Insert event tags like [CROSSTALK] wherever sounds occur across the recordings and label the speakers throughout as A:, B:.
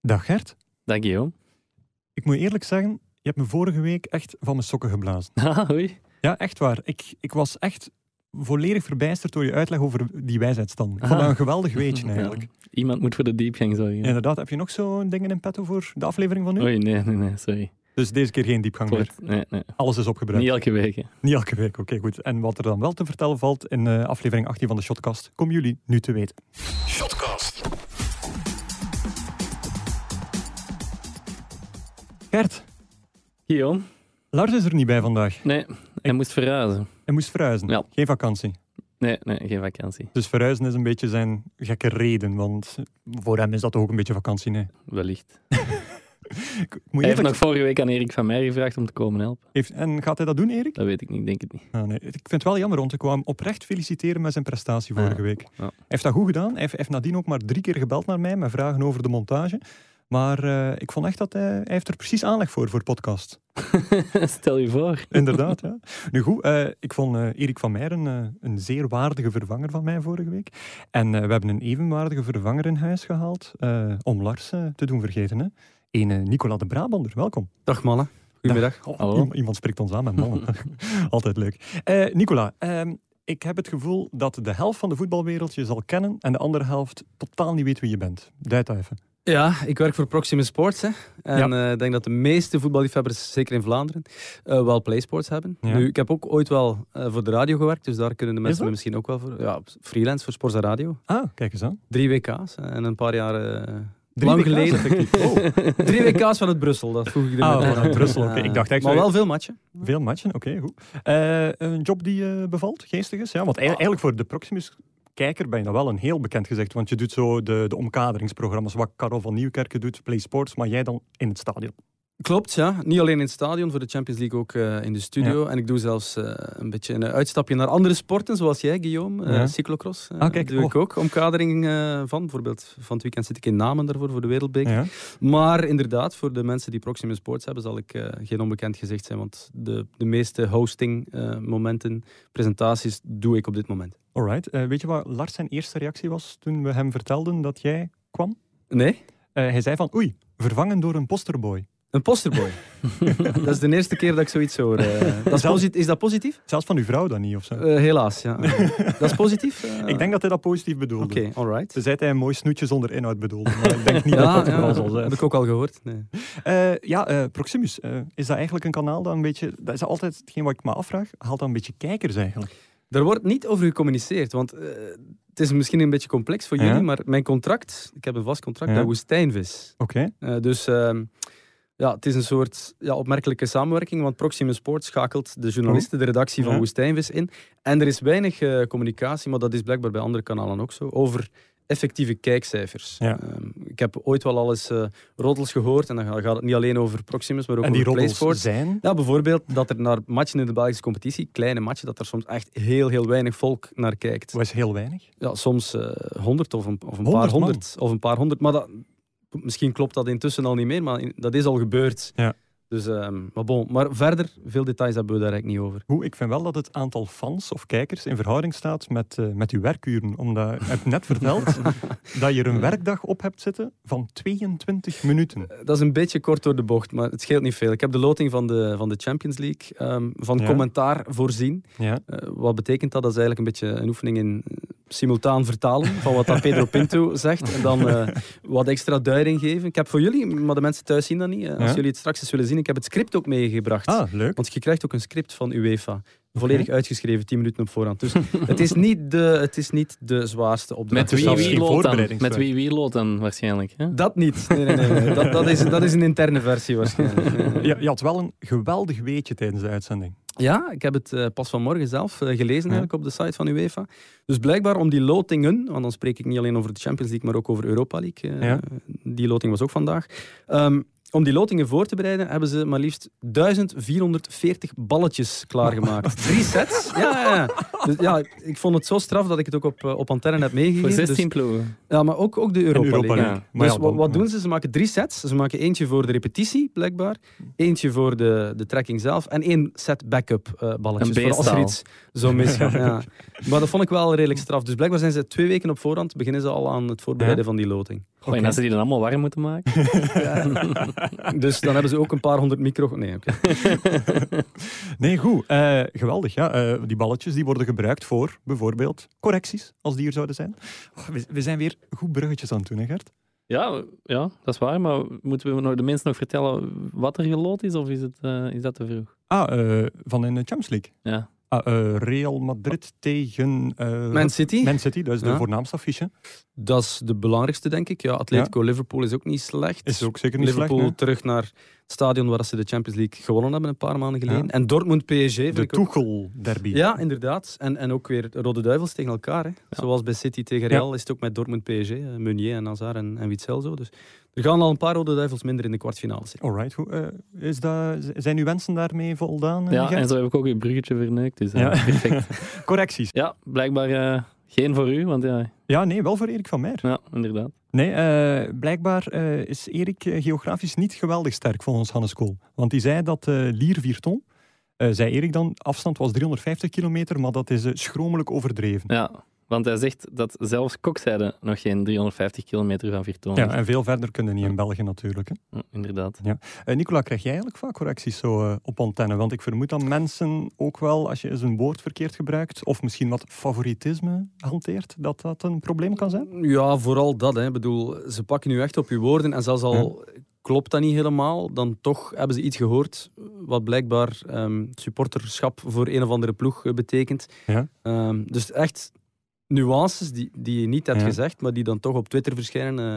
A: Dag Gert.
B: Dag Guillaume. [LAUGHS]
A: Ik moet eerlijk zeggen, je hebt me vorige week echt van mijn sokken geblazen.
B: Ah, oei.
A: Ja, echt waar. Ik, ik was echt volledig verbijsterd door je uitleg over die wijsheidsstand. Ik vond
B: Ah.
A: dat een geweldig
B: [LAUGHS]
A: weetje eigenlijk.
B: Ja, Iemand moet voor de diepgang zorgen.
A: Ja, Inderdaad, heb je nog zo'n dingen in petto voor de aflevering van nu?
B: Oei, nee, nee, nee, sorry.
A: Dus deze keer geen diepgang
B: Voor-
A: meer.
B: nee, nee.
A: Alles is opgebruikt.
B: Niet elke week. hè.
A: Niet elke week, oké goed. En wat er dan wel te vertellen valt in eh, aflevering 18 van de Shotcast, komen jullie nu te weten.
C: Shotcast.
A: Gert,
B: Guillaume?
A: Lars is er niet bij vandaag.
B: Nee, hij moest verhuizen.
A: Hij moest verhuizen.
B: Ja.
A: Geen vakantie.
B: Nee, nee, geen vakantie.
A: Dus verhuizen is een beetje zijn gekke reden, want voor hem is dat toch ook een beetje vakantie, nee.
B: Wellicht.
A: Ik moet
B: Hij heeft
A: eerlijk...
B: nog vorige week aan Erik van mij gevraagd om te komen helpen.
A: heeft- En gaat hij dat doen, Erik?
B: Dat weet ik niet, denk het niet.
A: Ah, nee. Ik vind het wel jammer, want ik kwam oprecht feliciteren met zijn prestatie vorige
B: Ah,
A: week.
B: ja.
A: Hij heeft dat goed gedaan. Hij heeft, hij heeft nadien ook maar drie keer gebeld naar mij met vragen over de montage. Maar eh, ik vond echt dat hij, hij heeft er precies aanleg voor, voor podcast.
B: [LAUGHS] Stel je voor.
A: Inderdaad, ja. Nu goed, eh, ik vond eh, Erik van Meijeren eh, een zeer waardige vervanger van mij vorige week. En eh, we hebben een evenwaardige vervanger in huis gehaald, eh, om Lars eh, te doen vergeten. Hè. Een eh, Nicola de Brabander, welkom.
C: Dag mannen. Goedemiddag.
A: Oh,
B: Hallo.
A: iem- Iemand spreekt ons aan met
C: [LAUGHS]
A: mannen. Altijd leuk. Eh, Nicola, ehm, ik heb het gevoel dat de helft van de voetbalwereld je zal kennen en de andere helft totaal niet weet wie je bent. Duid dat even.
C: Ja, ik werk voor Proximus Sports. Hè. En eh, ik denk dat de meeste voetballiefhebbers, zeker in Vlaanderen, eh, wel PlaySports hebben.
A: Ja.
C: Nu, ik heb ook ooit wel eh, voor de radio gewerkt, dus daar kunnen de mensen
A: dat?
C: me misschien ook wel voor. Ja, freelance voor Sports en Radio.
A: Ah, kijk eens aan.
C: Drie WK's en een paar jaar... eh,
A: Drie
C: lang
A: WK's?
C: geleden.
B: [LAUGHS]
C: effectief.
A: Oh.
C: Drie WK's vanuit Brussel, dat voeg ik er
A: Ah,
C: net aan.
A: vanuit Brussel, oké.
C: Ja.
A: Ik dacht echt
C: Maar
A: zo-
C: wel veel matchen.
A: Veel matchen, oké, goed. Eh, een job die je bevalt, geestig is. Ja, want ei-
C: Ah.
A: eigenlijk voor de Proximus-kijker ben je dan wel een heel bekend gezicht. Want je doet zo de, de omkaderingsprogramma's, wat Karel van Nieuwkerken doet, Play Sports, maar jij dan in het stadion.
C: Klopt, ja. Niet alleen in het stadion, voor de Champions League ook eh, in de studio. En ik doe zelfs eh, een beetje een uitstapje naar andere sporten, zoals jij, Guillaume. eh,
A: Ja.
C: Cyclocross eh,
A: Ah, kijk,
C: doe ik ook. Omkadering eh, van, bijvoorbeeld van het weekend zit ik in Namen daarvoor, voor de Wereldbeker.
A: Ja.
C: Maar inderdaad, voor de mensen die Proximus Sports hebben, zal ik eh, geen onbekend gezicht zijn. Want de, de meeste hosting-momenten, presentaties, doe ik op dit moment.
A: Alright. Eh, weet je wat Lars zijn eerste reactie was toen we hem vertelden dat jij kwam?
C: Nee?
A: Eh, hij zei van, oei, vervangen door een posterboy.
C: Een
A: [LAUGHS]
C: posterboy. dat is de eerste keer dat ik zoiets hoor. eh. dat is,
A: Zelf-
C: posi- is dat positief?
A: Zelfs van uw vrouw dan niet, of zo.
C: Eh,
A: [LAUGHS]
C: helaas, ja. dat is positief? Eh,
A: Ik denk dat hij dat positief bedoelde.
C: Oké, alright.
A: Ze zei dat hij een mooi snoetje zonder inhoud bedoelde, maar ik
C: [LAUGHS]
A: denk niet dat dat het geval zal zijn.
C: heb ik ook al gehoord. Nee.
A: Eh, ja, eh, Proximus, eh, is dat eigenlijk een kanaal dat een beetje... Dat is altijd hetgeen wat ik me afvraag. Haalt dat een beetje kijkers eigenlijk?
C: Er wordt niet over gecommuniceerd, want eh, het is misschien een beetje complex voor
A: Ja.
C: jullie, maar mijn contract, ik heb een vast contract
A: Ja.
C: bij Woestijnvis.
A: Oké.
C: Eh, dus ehm, ja, het is een soort ja, opmerkelijke samenwerking, want Proximus Sport schakelt de journalisten, de redactie van
A: Oh. Ja.
C: Woestijnvis in. En er is weinig eh, communicatie, maar dat is blijkbaar bij andere kanalen ook zo, over effectieve kijkcijfers.
A: Ja.
C: Ehm, ik heb ooit wel al eens eh, roddels gehoord, en dan ga- gaat het niet alleen over Proximus, maar ook
A: En die
C: over
A: roddels
C: PlaySports.
A: zijn...
C: Ja, Nou, bijvoorbeeld dat er naar matchen in de Belgische competitie, kleine matchen, dat er soms echt heel, heel weinig volk naar kijkt.
A: was heel weinig.
C: Ja, soms eh, honderd of een, of een paar
A: Honderd man.
C: honderd. Of een paar honderd. Maar dat, misschien klopt dat intussen al niet meer, maar in- dat is al gebeurd.
A: Ja.
C: Dus, ehm, maar, bon, maar verder, veel details hebben we daar eigenlijk niet over.
A: Hoe, ik vind wel dat het aantal fans of kijkers in verhouding staat met, eh, met uw werkuren. Omdat ik heb [LAUGHS] net verteld dat je er een werkdag op hebt zitten van 22 minuten.
C: Eh, Dat is een beetje kort door de bocht, maar het scheelt niet veel. Ik heb de loting van de, van de Champions League ehm, van
A: Ja.
C: commentaar voorzien.
A: Ja.
C: Eh, wat betekent dat? Dat is eigenlijk een beetje een oefening in eh, simultaan vertalen van wat dat Pedro Pinto zegt. En dan eh, wat extra duiding geven. Ik heb voor jullie, maar de mensen thuis zien dat niet. eh, als
A: Ja.
C: jullie het straks eens willen zien, ik heb het script ook meegebracht.
A: Ah, leuk.
C: Want je krijgt ook een script van UEFA. Volledig uitgeschreven, 10 minuten op voorhand. Dus het is niet de, het is niet de zwaarste opdracht.
B: Met wie
A: zelfs
B: wie
A: geen
B: loopt dan?
A: voorbereidingswerk.
B: Met wie wie loopt dan waarschijnlijk. Hè?
C: Dat niet. Nee, nee, nee, nee. Dat, dat, is, dat is een interne versie waarschijnlijk. Nee, nee, nee.
A: Je, je had wel een geweldig weetje tijdens de uitzending.
C: Ja, ik heb het eh, pas vanmorgen zelf eh, gelezen
A: Ja.
C: eigenlijk op de site van UEFA. Dus blijkbaar om die lotingen, want dan spreek ik niet alleen over de Champions League, maar ook over Europa League. eh,
A: Ja.
C: Die loting was ook vandaag. Ehm, om die lotingen voor te bereiden hebben ze maar liefst 1440 balletjes
A: [LAUGHS]
C: klaargemaakt. Drie sets? Ja, ja, ja. Dus, ja, ik vond het zo straf dat ik het ook op, eh, op antenne heb meegegeven.
B: Voor 16
C: Dus-
B: ploegen.
C: ja, maar ook, ook de Europa,
A: In Europa
C: League.
A: League.
B: Ja.
A: Maar
C: dus
A: ja,
C: wa-
A: dan-
C: wat doen ze? Ze maken drie sets. Ze maken eentje voor de repetitie, blijkbaar.
A: Hm.
C: Eentje voor de, de trekking zelf. En één set backup eh balletjes.
B: Een
C: Voor als er
B: beestaal.
C: iets zo misgaat.
A: [LAUGHS]
C: ja. Maar dat vond ik wel redelijk straf. Dus blijkbaar zijn ze twee weken op voorhand. Beginnen ze al aan het voorbereiden van die loting.
B: Goh, En dat ze die dan allemaal warm moeten maken.
A: [LAUGHS]
C: Dus dan hebben ze ook een paar honderd micro...
A: [LAUGHS]
C: Nee, oké.
A: Nee, goed. Eh, geweldig, ja. Eh, die balletjes die worden gebruikt voor bijvoorbeeld correcties, als die er zouden zijn. Oh, we, we zijn weer goed bruggetjes aan het doen, hè Gert?
B: Ja, ja, dat is waar. Maar moeten we nog- de mensen nog vertellen wat er geloot is? Of is, het, eh, is dat te vroeg?
A: Ah, eh, van in de Champions League.
B: Ja.
A: Ah, eh, Real Madrid tegen eh,
C: Man City?
A: Man City, dat is de
C: Ja.
A: voornaamste affiche.
C: Dat is de belangrijkste, denk ik. Ja, Atletico Liverpool is ook niet slecht.
A: Is ook zeker niet
C: Liverpool
A: slecht.
C: terug naar het stadion waar ze de Champions League gewonnen hebben een paar maanden geleden. En Dortmund PSG
A: hè.
C: vind
A: De
C: ik ook.
A: Tuchel-derby.
C: Ja, inderdaad. En, en ook weer Rode Duivels tegen elkaar. Hè. Zoals bij City tegen Real is het ook met Dortmund PSG, eh, Meunier en Hazard en, en Witzel zo. Dus er gaan al een paar Rode Duivels minder in de kwartfinale zitten.
A: Alright, goed. Eh, is dat, z- zijn uw wensen daarmee voldaan? eh,
B: ja,
A: Gert?
B: en zo heb ik ook uw bruggetje verneukt. Dus, eh,
A: Ja.
B: [LAUGHS] perfect.
A: Correcties.
B: Ja, blijkbaar eh, geen voor u, want ja,
A: Ja, nee, wel voor Erik van Meer.
B: ja inderdaad.
A: Nee, eh, blijkbaar eh, is Erik eh, geografisch niet geweldig sterk volgens Hannes Kool. Want die zei dat eh Lier 4 ton, eh, zei Erik dan, afstand was 350 kilometer, maar dat is eh, schromelijk overdreven.
B: Ja, want hij zegt dat zelfs Kokzijde nog geen 350 kilometer van Virton
A: Ja,
B: is.
A: en veel verder kunnen niet in België natuurlijk. Hè.
B: Ja, Inderdaad.
A: Eh, Nicola, krijg jij eigenlijk vaak correcties zo eh, op antenne? Want ik vermoed dat mensen ook wel, als je eens een woord verkeerd gebruikt, of misschien wat favoritisme hanteert, dat dat een probleem kan zijn?
C: Ja, vooral dat. Hè. Ik bedoel, ze pakken nu echt op je woorden. En zelfs al
A: Hm.
C: klopt dat niet helemaal, dan toch hebben ze iets gehoord wat blijkbaar ehm, supporterschap voor een of andere ploeg eh, betekent.
A: Ja.
C: Ehm, dus echt nuances die, die je niet hebt
A: Ja.
C: gezegd, maar die dan toch op Twitter verschijnen. Eh,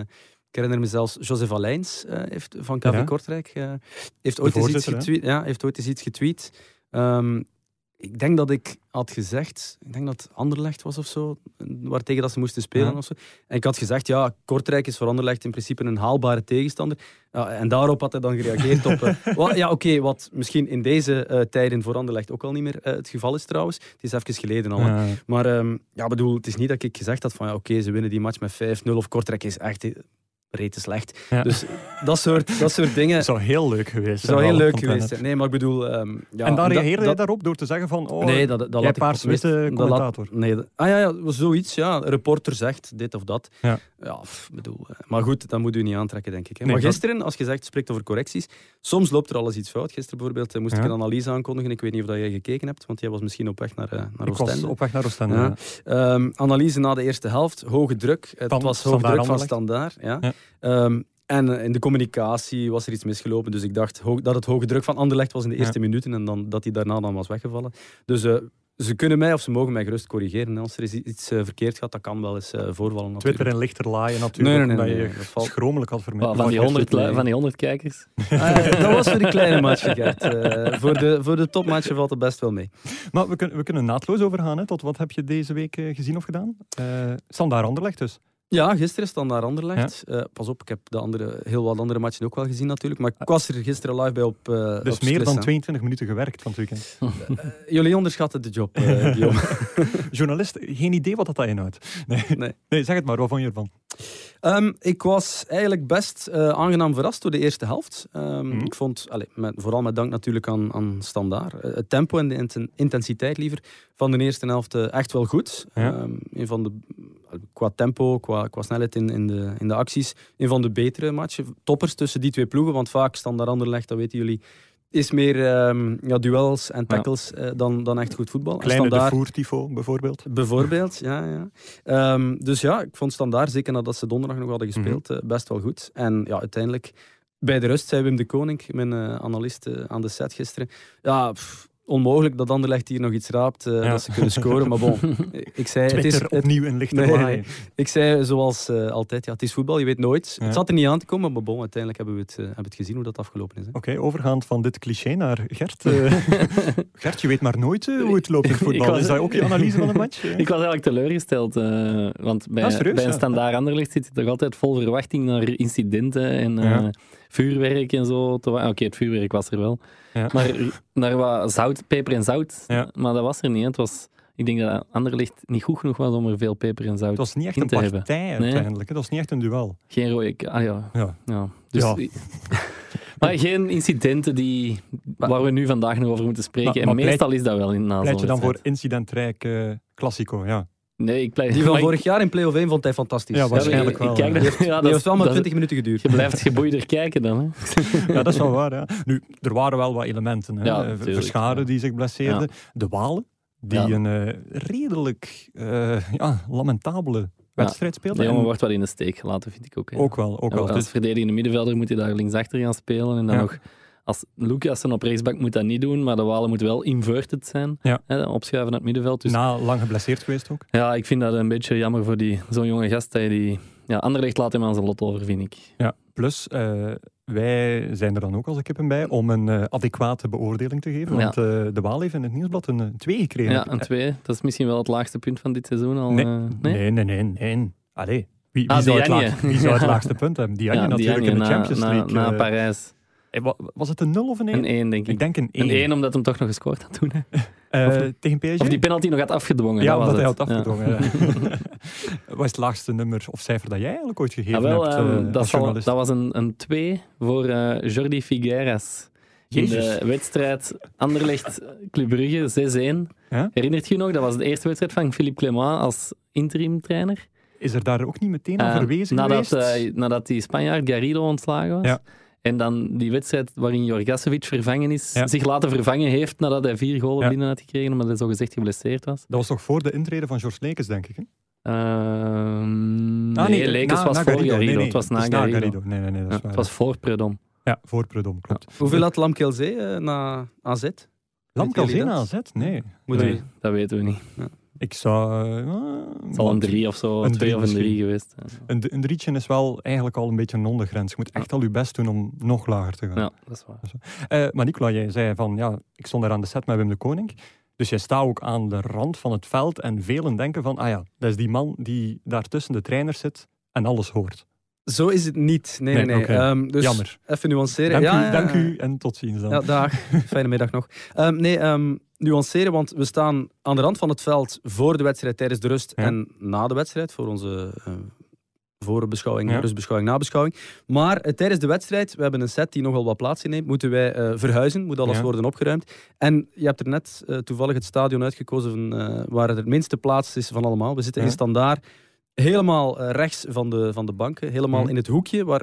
C: ik herinner me zelfs, Joseph Alijns eh, heeft, van KV
A: Ja.
C: Kortrijk eh, heeft, ooit eens iets
A: voorzitter, hè?
C: getweet, ja, heeft ooit eens iets getweet. Ehm, ik denk dat ik had gezegd, ik denk dat het Anderlecht was of zo, waartegen dat ze moesten spelen
A: Ja.
C: of zo. En ik had gezegd, ja, Kortrijk is voor Anderlecht in principe een haalbare tegenstander. Ja, en daarop had hij dan gereageerd op... eh,
A: [LAUGHS]
C: wa- ja, oké, wat misschien in deze eh, tijden voor Anderlecht ook al niet meer eh, het geval is trouwens. Het is even geleden al. hè.
A: Ja.
C: Maar ehm, ja, bedoel, het is niet dat ik gezegd had van ja, oké, ze winnen die match met 5-0 of Kortrijk is echt eh, rete slecht.
A: Ja.
C: Dus dat soort, dat soort
A: [LAUGHS]
C: dingen
A: zou heel leuk geweest zijn.
C: zou heel
A: wel, op
C: leuk
A: antenne.
C: geweest zijn. Nee, maar ik bedoel... ehm, ja,
A: en dan reageerde
C: dat-
A: hij daarop door te zeggen van, oh,
C: Nee, dat, dat
A: jij
C: laat ik
A: paars-witte
C: dat laat-
A: commentator.
C: nee, dat- ah ja, ja, zoiets, ja. Een reporter zegt dit of dat.
A: Ja.
C: pff, bedoel, eh, maar goed, dat moet u niet aantrekken, denk ik. Hè.
A: Nee,
C: maar
A: dat-
C: gisteren, als je zegt, spreekt over correcties, soms loopt er alles iets fout. Gisteren bijvoorbeeld eh, moest
A: Ja.
C: ik een analyse aankondigen. Ik weet niet of dat jij gekeken hebt, want jij was misschien op weg naar, eh naar
A: ik was
C: Oostende.
A: op weg naar Oostende.
C: Ja.
A: ja.
C: Ehm, analyse na de eerste helft, hoge druk. Het
A: Van
C: was hoge
A: Standaard
C: druk van
A: Anderlecht.
C: standaard. Ja.
A: Ja.
C: Ehm, en eh, in de communicatie was er iets misgelopen. Dus ik dacht ho- dat het hoge druk van Anderlecht was in de
A: Ja.
C: eerste minuten en dan, dat hij daarna dan was weggevallen. Dus eh, ze kunnen mij of ze mogen mij gerust corrigeren. hè. Als er is iets eh, verkeerd gaat, dat kan wel eens eh, voorvallen. natuurlijk.
A: Twitter en lichter laaien
C: Nee,
A: natuurlijk,
C: nee, nee,
A: omdat
C: nee,
A: je
C: dat
A: [LAUGHS]
C: valt-
A: schromelijk had vermeld.
B: Wel, van, die 100,
C: nee.
B: lu- van die 100 kijkers.
C: Ah, ja, dat was voor de kleine match, Gert. Eh, voor, de, voor de topmatchen valt het best wel mee.
A: Maar we kunnen, we kunnen naadloos overgaan, hè, tot wat heb je deze week eh, gezien of gedaan? Eh Standaard Anderlecht dus.
C: Ja, gisteren standaard Anderlecht. Eh, pas op, ik heb de andere, heel wat andere matchen ook wel gezien natuurlijk. Maar ik was er gisteren live bij op eh, op
A: Dus meer
C: Slissen.
A: dan 22 minuten gewerkt van het
C: [LAUGHS]
A: weekend.
C: Jullie onderschatten de
A: [LAUGHS]
C: job, eh, Guillaume.
A: Journalist, geen idee wat dat inhoudt. Nee.
C: Nee.
A: [LAUGHS] nee, zeg het maar, wat vond je ervan?
C: Ehm, ik was eigenlijk best eh, aangenaam verrast door de eerste helft. Ehm,
A: Mhm.
C: Ik vond, allee, met- vooral met dank natuurlijk aan, aan Standaard, eh, het tempo en de inten- intensiteit liever van de eerste helft eh, echt wel goed.
A: Ja.
C: Ehm, een van de, qua tempo, qua, qua snelheid in, in, de, in de acties, een van de betere matchen. Toppers tussen die twee ploegen, want vaak Standaard Anderlecht, dat weten jullie, is meer ehm, ja, duels en tackles eh, dan, dan echt goed voetbal. En
A: Kleine de
C: Standaard-
A: voertifo bijvoorbeeld.
C: Bijvoorbeeld, ja. ja. Ehm, dus ja, ik vond Standaard, zeker nadat ze donderdag nog
A: Mhm.
C: hadden gespeeld, eh, best wel goed. En ja, uiteindelijk, bij de rust, zei Wim de Koning, mijn eh, analist eh, aan de set gisteren, ja, pff, onmogelijk dat Anderlecht hier nog iets raapt, eh,
A: Ja.
C: dat ze kunnen scoren. Maar
A: [LAUGHS]
C: bon, ik zei, het is,
A: Twitter
C: het-
A: opnieuw in lichter
C: Nee, nee,
A: laaien.
C: ik zei zoals eh, altijd, ja, het is voetbal, je weet nooit.
A: Ja.
C: Het zat er niet aan te komen, maar bon, uiteindelijk hebben we het, eh, hebben we het gezien hoe dat afgelopen is. Hè.
A: Oké, overgaand van dit cliché naar Gert.
C: [LAUGHS]
A: eh. Gert, je weet maar nooit eh, hoe het loopt in het
B: Ik
A: voetbal.
B: was-
A: Is dat ook je analyse van een
C: [LAUGHS]
A: match? Eh?
B: Ik was eigenlijk teleurgesteld, eh, want bij,
A: Ah, serieus,
B: bij
A: ja.
B: een standaard Anderlecht zit je toch altijd vol verwachting naar incidenten en eh,
A: Ja.
B: vuurwerk en zo. te wa- Oké, het vuurwerk was er wel.
A: Ja.
B: Maar naar wat zout, peper en zout,
A: Ja.
B: maar dat was er niet. hè. Het was, ik denk dat Anderlecht niet goed genoeg was om er veel peper en zout
A: Het was niet echt
B: in
A: een
B: te hebben.
A: partij uiteindelijk. hè. Dat was niet echt een duel.
B: Geen rode ka- Ah ja.
A: Ja.
B: ja. Dus,
A: Ja.
B: [LAUGHS] Maar geen incidenten die, waar we nu vandaag nog over moeten spreken.
A: Maar- maar
B: en meestal is dat wel in na zo'n
A: Pleit je dan voor
B: wedstrijd.
A: incidentrijk eh Classico, ja.
B: Nee, ik pleit...
C: Die van
B: maar ik-
C: vorig jaar in play-off 1 vond hij fantastisch.
A: Ja,
C: Ja,
A: waarschijnlijk.
B: ik,
A: wel,
B: Ik
A: hè.
B: kijk daar- ja,
C: die
B: dat,
C: heeft wel maar
B: dat-
C: 20 minuten geduurd.
B: Je blijft geboeider kijken dan. Hè?
A: Ja, dat is wel waar. Ja. Nu, er waren wel wat elementen. Hè.
B: Ja,
A: Eh,
B: natuurlijk,
A: Verscharen
B: ja.
A: die zich blesseerden. De Walen, die
B: Ja.
A: een eh, redelijk eh, ja, lamentabele wedstrijd
B: De
A: speelden.
B: jongen
A: En
B: wordt wel in de steek gelaten, vind ik ook. Hè.
A: Ook wel, ook
B: Ook
A: wel.
B: als
A: Dus
B: verdedigende middenvelder moet hij daar linksachter gaan spelen. En dan
A: Ja.
B: nog, als Lucassen op rechtsbak moet dat niet doen, maar de Walen moet wel inverted zijn.
A: Ja. Nou.
B: Hè, opschuiven naar het middenveld. Dus
A: na lang geblesseerd geweest ook.
B: ja, ik vind dat een beetje jammer voor die- zo'n jonge gast. Dat je die, ja, Anderlecht laat hem aan zijn lot over, vind ik.
A: Ja. Plus, eh, wij zijn er dan ook als kippen bij om een eh, adequate beoordeling te geven.
B: Ja.
A: Want eh, de Waal heeft in het nieuwsblad een eh, twee gekregen.
B: Ja, een twee. Dat is misschien wel het laagste punt van dit seizoen al.
A: Nee,
B: eh,
A: nee, nee, nee. nee. Allee. Wie, wie,
B: Ah,
A: zou, het
B: Diagne.
A: laagste, wie zou het
B: Ja.
A: laagste punt hebben? Die had je
B: Ja,
A: natuurlijk
B: Diagne
A: in de
B: na-
A: Champions
B: na,
A: League.
B: Na,
A: eh,
B: Parijs.
A: eh, wa- was het een 0 of een 1?
B: Een één, denk ik.
A: Ik denk een 1.
B: een één, omdat hem toch nog gescoord had toen. hè.
A: Eh,
B: Of-
A: tegen PSG?
B: Of die penalty nog had afgedwongen.
A: ja,
B: was
A: omdat hij had
B: het. Ja.
A: afgedwongen. ja. Wat is het laagste nummer of cijfer dat jij eigenlijk ooit
B: Ah,
A: gegeven
B: wel,
A: hebt?
B: ehm,
A: eh,
B: dat,
A: als
B: zal-
A: journalist?
B: dat was een, een 2 voor eh, Jordi Figueras. In
A: Jezus.
B: de wedstrijd Anderlecht-Club Brugge 6-1.
A: Ja?
B: Herinnert je je nog? Dat was de eerste wedstrijd van Philippe Clément als interim trainer.
A: Is er daar ook niet meteen aan
B: Eh,
A: verwezen
B: nadat,
A: geweest?
B: eh, nadat die Spanjaard Garrido ontslagen was.
A: Ja.
B: En dan die wedstrijd waarin Jorgasevic vervangen is,
A: Ja.
B: zich laten vervangen heeft nadat hij vier golen
A: Ja.
B: binnen had gekregen, omdat hij zogezegd geblesseerd was.
A: Dat was toch voor de intrede van George Lekes, denk ik? Hè?
B: Ehm
A: Ah,
B: nee,
A: de-
B: Lekers
A: na-
B: was
A: na
B: voor
A: Garrido.
B: Garrido.
A: Nee, nee,
B: het was na
A: het is
B: Garrido.
A: Nee, nee, nee, dat
B: Ja,
A: is waar.
B: het was voor Predom.
A: Ja, voor Predom, klopt.
C: Hoeveel had Lamkelzee eh, na AZ?
A: Lam
C: Weten jullie
A: Calzena
C: dat?
A: AZ? Nee.
C: Moet
B: Nee,
C: u-
B: dat weten we niet.
A: Ik zou... eh, ah,
B: Het zal een drie of zo,
A: Een
B: twee
A: drie
B: of een drie
A: misschien.
B: geweest.
A: Een, een drietje is wel eigenlijk al een beetje een ondergrens. Je moet echt al je best doen om nog lager te gaan.
B: Ja, dat is waar.
A: Eh, maar Nicola, jij zei van ja, ik stond daar aan de set met Wim de Koning. Dus jij staat ook aan de rand van het veld en velen denken van, ah ja, dat is die man die daar tussen de trainers zit en alles hoort.
C: Zo is het niet. Nee, nee,
A: Nee,
C: nee.
A: oké.
C: Ehm, dus
A: Jammer.
C: Even nuanceren.
A: Dank,
C: ja,
A: u,
C: ja,
A: dank
C: ja.
A: u en tot ziens dan.
C: Ja,
A: [LAUGHS]
C: dag. Fijne middag nog. Ehm, nee, ehm, nuanceren, want we staan aan de rand van het veld voor de wedstrijd, tijdens de rust
A: Ja.
C: en na de wedstrijd, voor onze eh, voorbeschouwing,
A: Ja.
C: rustbeschouwing, nabeschouwing. Maar eh, tijdens de wedstrijd, we hebben een set die nogal wat plaats inneemt, moeten wij eh, verhuizen, moet alles
A: Ja.
C: worden opgeruimd. En je hebt er net eh, toevallig het stadion uitgekozen van, eh, waar het het minste plaats is van allemaal. We zitten
A: Ja.
C: in standaard, helemaal eh, rechts van de, van de banken, helemaal
A: Ja.
C: in het hoekje waar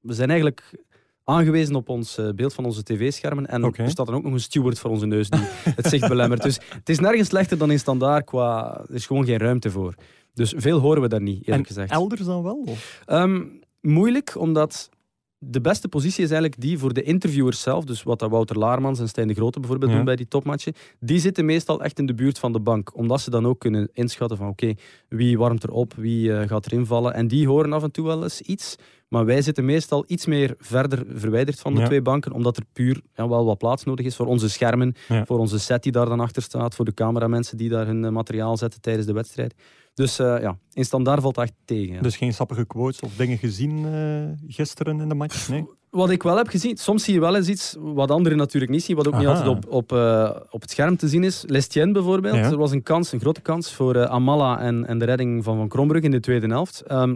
C: we zijn eigenlijk aangewezen op ons eh, beeld van onze tv-schermen. En
A: Oké.
C: er staat dan ook nog een steward voor onze neus die het zicht belemmert. Dus het is nergens slechter dan in standaard qua... Er is gewoon geen ruimte voor. Dus veel horen we daar niet, eerlijk
A: en
C: gezegd.
A: elders dan wel? Of?
C: Ehm, moeilijk, omdat de beste positie is eigenlijk die voor de interviewers zelf. Dus wat dat Wouter Laarmans en Stijn de Grote bijvoorbeeld
A: Ja.
C: doen bij die topmatchen. Die zitten meestal echt in de buurt van de bank. Omdat ze dan ook kunnen inschatten van oké, wie warmt er op, wie eh, gaat erin vallen. En die horen af en toe wel eens iets. Maar wij zitten meestal iets meer verder verwijderd van de
A: Ja.
C: twee banken. Omdat er puur ja, wel wat plaats nodig is voor onze schermen.
A: Ja.
C: Voor onze set die daar dan achter staat. Voor de cameramensen die daar hun eh, materiaal zetten tijdens de wedstrijd. Dus eh, ja, in standaard valt dat echt tegen. ja.
A: Dus geen sappige quotes of dingen gezien eh, gisteren in de match? Nee?
C: Wat ik wel heb gezien, soms zie je wel eens iets wat anderen natuurlijk niet zien, wat ook niet
A: Aha.
C: altijd op, op, eh, op het scherm te zien is. Lestienne bijvoorbeeld,
A: Ja.
C: er was een kans, een grote kans voor eh, Amala en, en de redding van Van Krombrug in de tweede helft. Ehm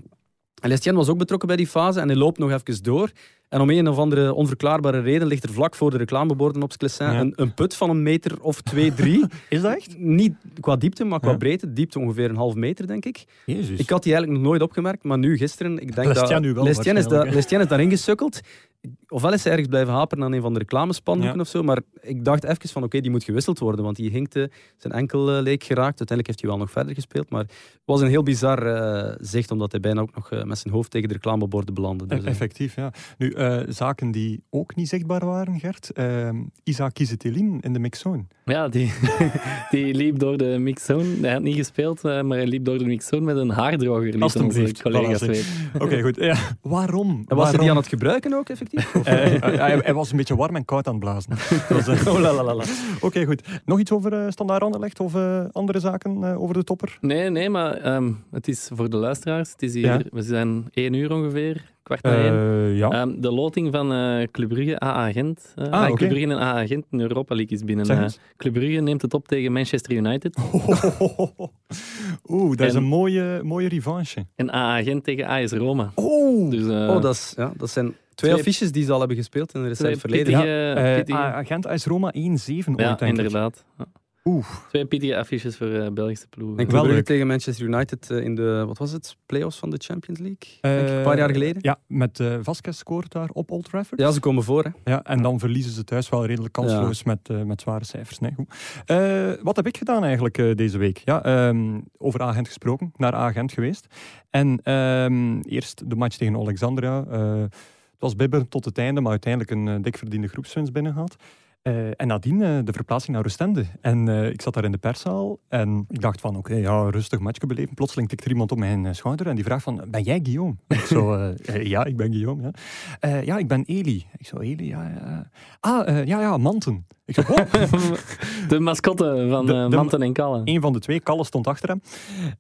C: en Lestienne was ook betrokken bij die fase en hij loopt nog even door. En om een of andere onverklaarbare reden ligt er vlak voor de reclameborden op Sclessin
A: Ja.
C: een, een put van een meter of twee, drie.
A: [LAUGHS] Is dat echt?
C: niet qua diepte, maar qua
A: Ja.
C: breedte. Diepte ongeveer een half meter, denk ik.
A: Jezus.
C: Ik had die eigenlijk nog nooit opgemerkt, maar nu gisteren, ik denk
A: Dus- Lestienne
C: dat...
A: nu wel,
C: Lestienne is,
A: waarschijnlijk,
C: daar,
A: hè.
C: Lestienne is daarin gesukkeld. Ofwel is ze ergens blijven haperen aan een van de reclamespandoeken
A: Ja.
C: of zo, maar ik dacht even van oké, die moet gewisseld worden, want die hinkte, zijn enkel eh, leek geraakt. Uiteindelijk heeft hij wel nog verder gespeeld, maar het was een heel bizar eh, zicht, omdat hij bijna ook nog eh, met zijn hoofd tegen de reclameborden belandde. Dus,
A: E-
C: eh,
A: Effectief, ja. Nu, eh, zaken die ook niet zichtbaar waren, Gert. Ehm Isaac Kizetelin in de
C: [LAUGHS]
A: mixzone.
B: Ja, die, [LAUGHS] die liep door de mixzone. Hij had niet gespeeld, eh, maar hij liep door de mixzone met een haardroger. lieten onze
A: Alsjeblieft.
B: collega's
A: Voilà, zeg.
B: weten.
A: Oké, goed. Ja. Waarom?
C: en was hij die
A: Waarom?
C: aan het gebruiken ook,
A: [LAUGHS]
C: effectief? Of-
A: Eh, eh, hij, hij was een beetje warm en koud aan het
C: [LAUGHS]
A: blazen. Dat was, eh,
C: Oh, la, la, la, la.
A: Oké, goed. Nog iets over eh Standaard Anderlecht of eh, andere zaken eh, over de topper?
B: Nee, nee, maar ehm, het is voor de luisteraars. Het is hier,
A: Ja. Eh,
B: We zijn één uur ongeveer, kwart
C: Eh,
B: na één.
A: ja.
B: Ehm, de loting van eh Club Brugge, AA Gent. eh,
A: Ah,
B: ah,
A: oké.
B: Club Brugge en AA Gent in Europa League is binnen.
A: Zeg
B: eh.
A: eens.
B: Club Brugge neemt het op tegen Manchester United.
A: [LAUGHS] Oeh, dat is
B: En-
A: een mooie, mooie revanche.
B: En AA Gent tegen AS Roma.
A: Oh!
B: Dus, eh,
C: Oh, dat, is, ja, dat zijn twee,
B: Twee-
C: affiches die ze al hebben gespeeld in het
B: twee
C: recent verleden.
B: pittige- pittige-
A: [LAUGHS] agent AS Roma 1-7 ooit,
B: ja,
A: denk ik.
B: inderdaad.
A: Oeh,
B: Twee pittige affiches voor eh, Belgische ploegen.
C: Denk
A: Wel
C: Brugge
A: leuk.
C: tegen Manchester United eh, in de, wat was het, playoffs van de Champions League?
A: Eh,
C: Denk ik, een paar jaar geleden.
A: Ja, met eh Vasquez scoort daar op Old Trafford.
C: Ja, ze komen voor. Hè.
A: Ja, en dan verliezen ze thuis wel redelijk kansloos met, eh, met zware cijfers. Nee, goed. Eh, wat heb ik gedaan eigenlijk eh, deze week? Ja, ehm, over agent gesproken, naar agent geweest. En ehm, eerst de match tegen Alexandria. Eh, het was bibber tot het einde, maar uiteindelijk een eh, dik verdiende groepswinst binnengehaald. Eh, en nadien eh, de verplaatsing naar Oostende. En eh, ik zat daar in de perszaal en ik dacht van, oké, ja, rustig matchje beleven. Plotseling tikt er iemand op mijn eh, schouder en die vraagt van, ben jij Guillaume? [LAUGHS] ik zo, eh, eh, ja, ik ben Guillaume, ja. Eh, ja, ik ben Eli. Ik zo, Eli, ja, ja. Ah, eh, ja, ja, Manten. Ik zo, oh,
B: de mascotte van
A: De-
B: eh,
A: de-
B: Manten en Kallen.
A: [LAUGHS] een van de twee kallen stond achter hem.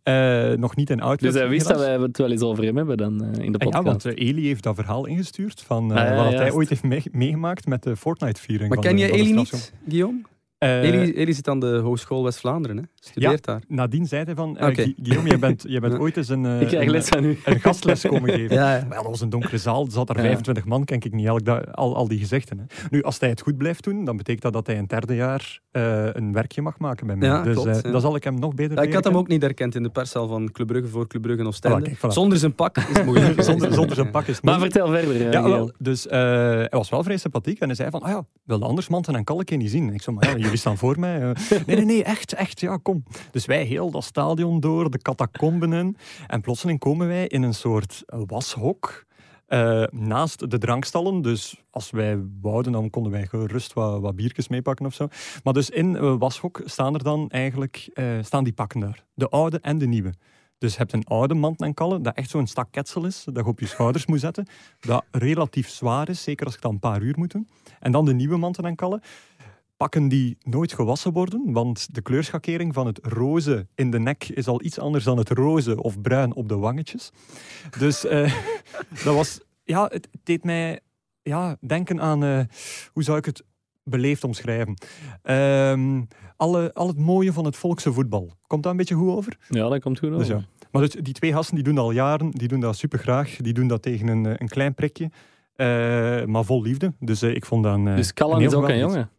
A: Eh, nog niet in outfit.
B: Dus hij wist dat
A: helaas.
B: wij het wel eens over hem hebben dan eh, in de
A: Eh,
B: podcast.
A: ja, want eh, Eli heeft dat verhaal ingestuurd van eh,
B: Ah, ja,
A: wat hij
B: juist.
A: ooit heeft mee- meegemaakt met de Fortnite-viering.
C: Maar
A: van
C: ken
A: de-
C: je
A: van de
C: Eli
A: strafschop.
C: niet, Guillaume?
A: Eh,
C: Eli, Eli zit aan de Hogeschool West-Vlaanderen, hè? studeert daar.
A: Nadien zei hij van, eh,
C: Oké.
A: Gu- Guillaume, jij bent, jij bent
C: [LAUGHS] Ja.
A: ooit eens een, eh,
B: ik krijg
A: een,
B: les van u.
A: eh, een gastles komen geven.
C: Ja,
A: Maar ja, dat was een donkere zaal, er zat er
B: Ja.
A: 25 man, ken ik niet elk da- al, al die gezichten. Hè. Nu, als hij het goed blijft doen, dan betekent dat dat hij in het derde jaar eh, een werkje mag maken bij mij.
C: Ja,
A: dus
C: klopt,
A: eh,
C: ja.
A: dan zal ik hem nog beter
C: Ja, ik had hem
A: leren
C: ook niet herkend in de perszaal van Club Brugge voor Club Brugge en Oostende.
A: Ah, kijk, voilà.
C: Zonder zijn pak is het
A: kennen.
C: moeilijk.
A: [LAUGHS] [LAUGHS] zonder, zonder zijn pak is
B: [LAUGHS] Maar
A: moeilijk.
B: vertel verder. eh,
A: Ja,
B: Giel.
A: wel, dus eh, hij was wel vrij sympathiek en hij zei van, ah ja, wilde anders Manten en Kalken niet zien. Ik zei, maar ja, jullie staan voor mij. eh. nee, nee, nee, echt, echt, ja, kom. Dus wij heel dat stadion door, de catacomben in. En plotseling komen wij in een soort eh, washok eh, naast de drankstallen. Dus als wij wouden, dan konden wij gerust wat, wat biertjes meepakken of zo. Maar dus in eh, washok staan er dan eigenlijk, eh, staan die pakken daar. De oude en de nieuwe. Dus je hebt een oude mand en kallen, dat echt zo'n stak ketsel is, dat je op je schouders moet zetten dat relatief zwaar is, zeker als ik dat een paar uur moet doen. En dan de nieuwe manten en kallen. Pakken die nooit gewassen worden, want de kleurschakering van het roze in de nek is al iets anders dan het roze of bruin op de wangetjes. Dus eh, [LAUGHS] dat was, ja, het, het deed mij ja, denken aan, eh, hoe zou ik het beleefd omschrijven? Ehm, alle, al het mooie van het volkse voetbal. Komt dat een beetje goed over?
B: Ja, dat komt goed over.
A: Dus ja. Maar dus die twee gasten die doen dat al jaren, die doen dat super graag. Die doen dat tegen een, eh, een klein prikje, eh, maar vol liefde. Dus eh, ik vond dan. eh,
B: Dus Kallen
A: heel
B: is ook een
A: geweldig.
B: jongen.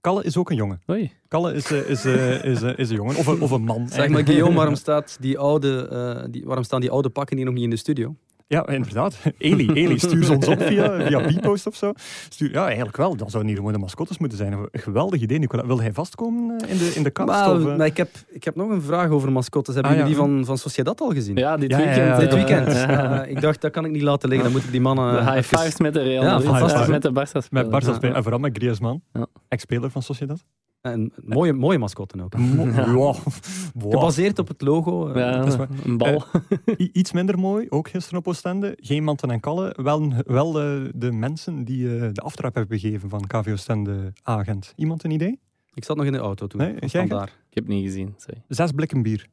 A: Kalle is ook een jongen.
B: Oei.
A: Kalle is, eh, is, eh, is, eh, is een jongen. Of een, of een man.
C: Zeg maar, Guillaume, waarom, staat die oude, eh, die, waarom staan die oude pakken hier nog niet in de studio?
A: [LAUGHS] Ja, inderdaad. Eli, Eli stuur ze ons op via,
B: [LAUGHS]
A: via P-post of zo. Stuur, ja, eigenlijk wel. Dan zouden hier gewoon de mascottes moeten zijn. Een Geweldig idee, Nicola. Wil hij vastkomen eh, in de, in de kast?
C: Maar,
A: of, eh?
C: maar ik, heb, ik heb nog een vraag over mascottes. Hebben
A: Ah,
C: jullie
A: ja.
C: die van, van Sociedad al gezien?
B: Ja, dit
A: Ja, ja,
B: weekend.
A: ja.
B: eh,
C: Dit
B: [LAUGHS]
C: weekend.
B: eh,
C: Eh, ik dacht, dat kan ik niet laten liggen. Dan moet ik die mannen...
B: de
C: eh,
B: high
C: even-
B: fives met de Real
C: Ja,
B: Madrid,
A: fantastisch.
B: eh, met de Barca
A: Met Barca
B: spelers.
A: spelen. En vooral met Griezmann,
B: Ja.
A: ex-speler van
B: [LAUGHS]
A: Sociedad.
C: En mooie, mooie mascotten ook.
A: Mo- Wow. Wow.
C: Gebaseerd op het logo. eh,
B: Ja,
A: dat is waar.
B: een bal.
A: I- Iets minder mooi, ook gisteren op Oostende. Geen Manten en Kallen, wel, wel eh, de mensen die eh, de aftrap hebben gegeven van KV Oostende-agent. Iemand een idee?
C: Ik zat nog in de auto toen.
A: Nee,
C: van
A: jij?
C: daar.
B: Ik heb niet
A: [LAUGHS]
B: gezien, sorry.
A: Zes blikken bier.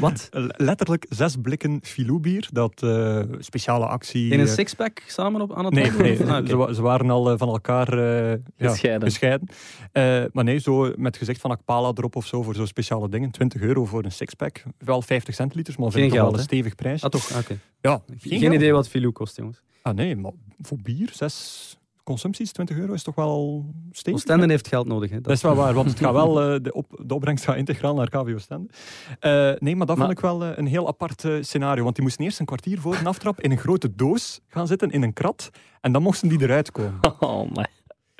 C: Wat?
A: L- Letterlijk zes blikken Filou-bier. Dat eh, speciale actie...
C: In een
A: eh,
C: sixpack samen op, aan het
A: Nee,
C: wandelen?
A: nee
C: Ah, oké.
A: ze, wa- ze waren al eh, van elkaar eh, ja,
B: Gescheiden.
A: gescheiden. Eh, maar nee, zo met gezicht van Akpala erop of zo voor zo'n speciale dingen. 20 euro voor een sixpack. Wel 50 centiliters, maar vind
C: Geen
A: ik toch wel
C: geld,
A: een
C: hè?
A: stevig prijs.
C: Ah, toch? Ah, oké.
A: Ja,
C: Geen,
A: geld.
C: idee wat Filou kost, jongens.
A: Ah nee, maar voor bier, zes consumpties, 20 euro is toch wel stevig?
C: Oostenden heeft geld nodig. Hè.
A: Dat is wel waar, want het gaat wel, eh, de, op, de opbrengst gaat integraal naar KVO Stende. Eh, nee, maar dat
B: Maar-
A: vond ik wel eh, een heel apart eh, scenario. Want die moesten eerst een kwartier voor een aftrap in een grote doos gaan zitten, in een krat. En dan moesten die eruit komen.
B: Oh my.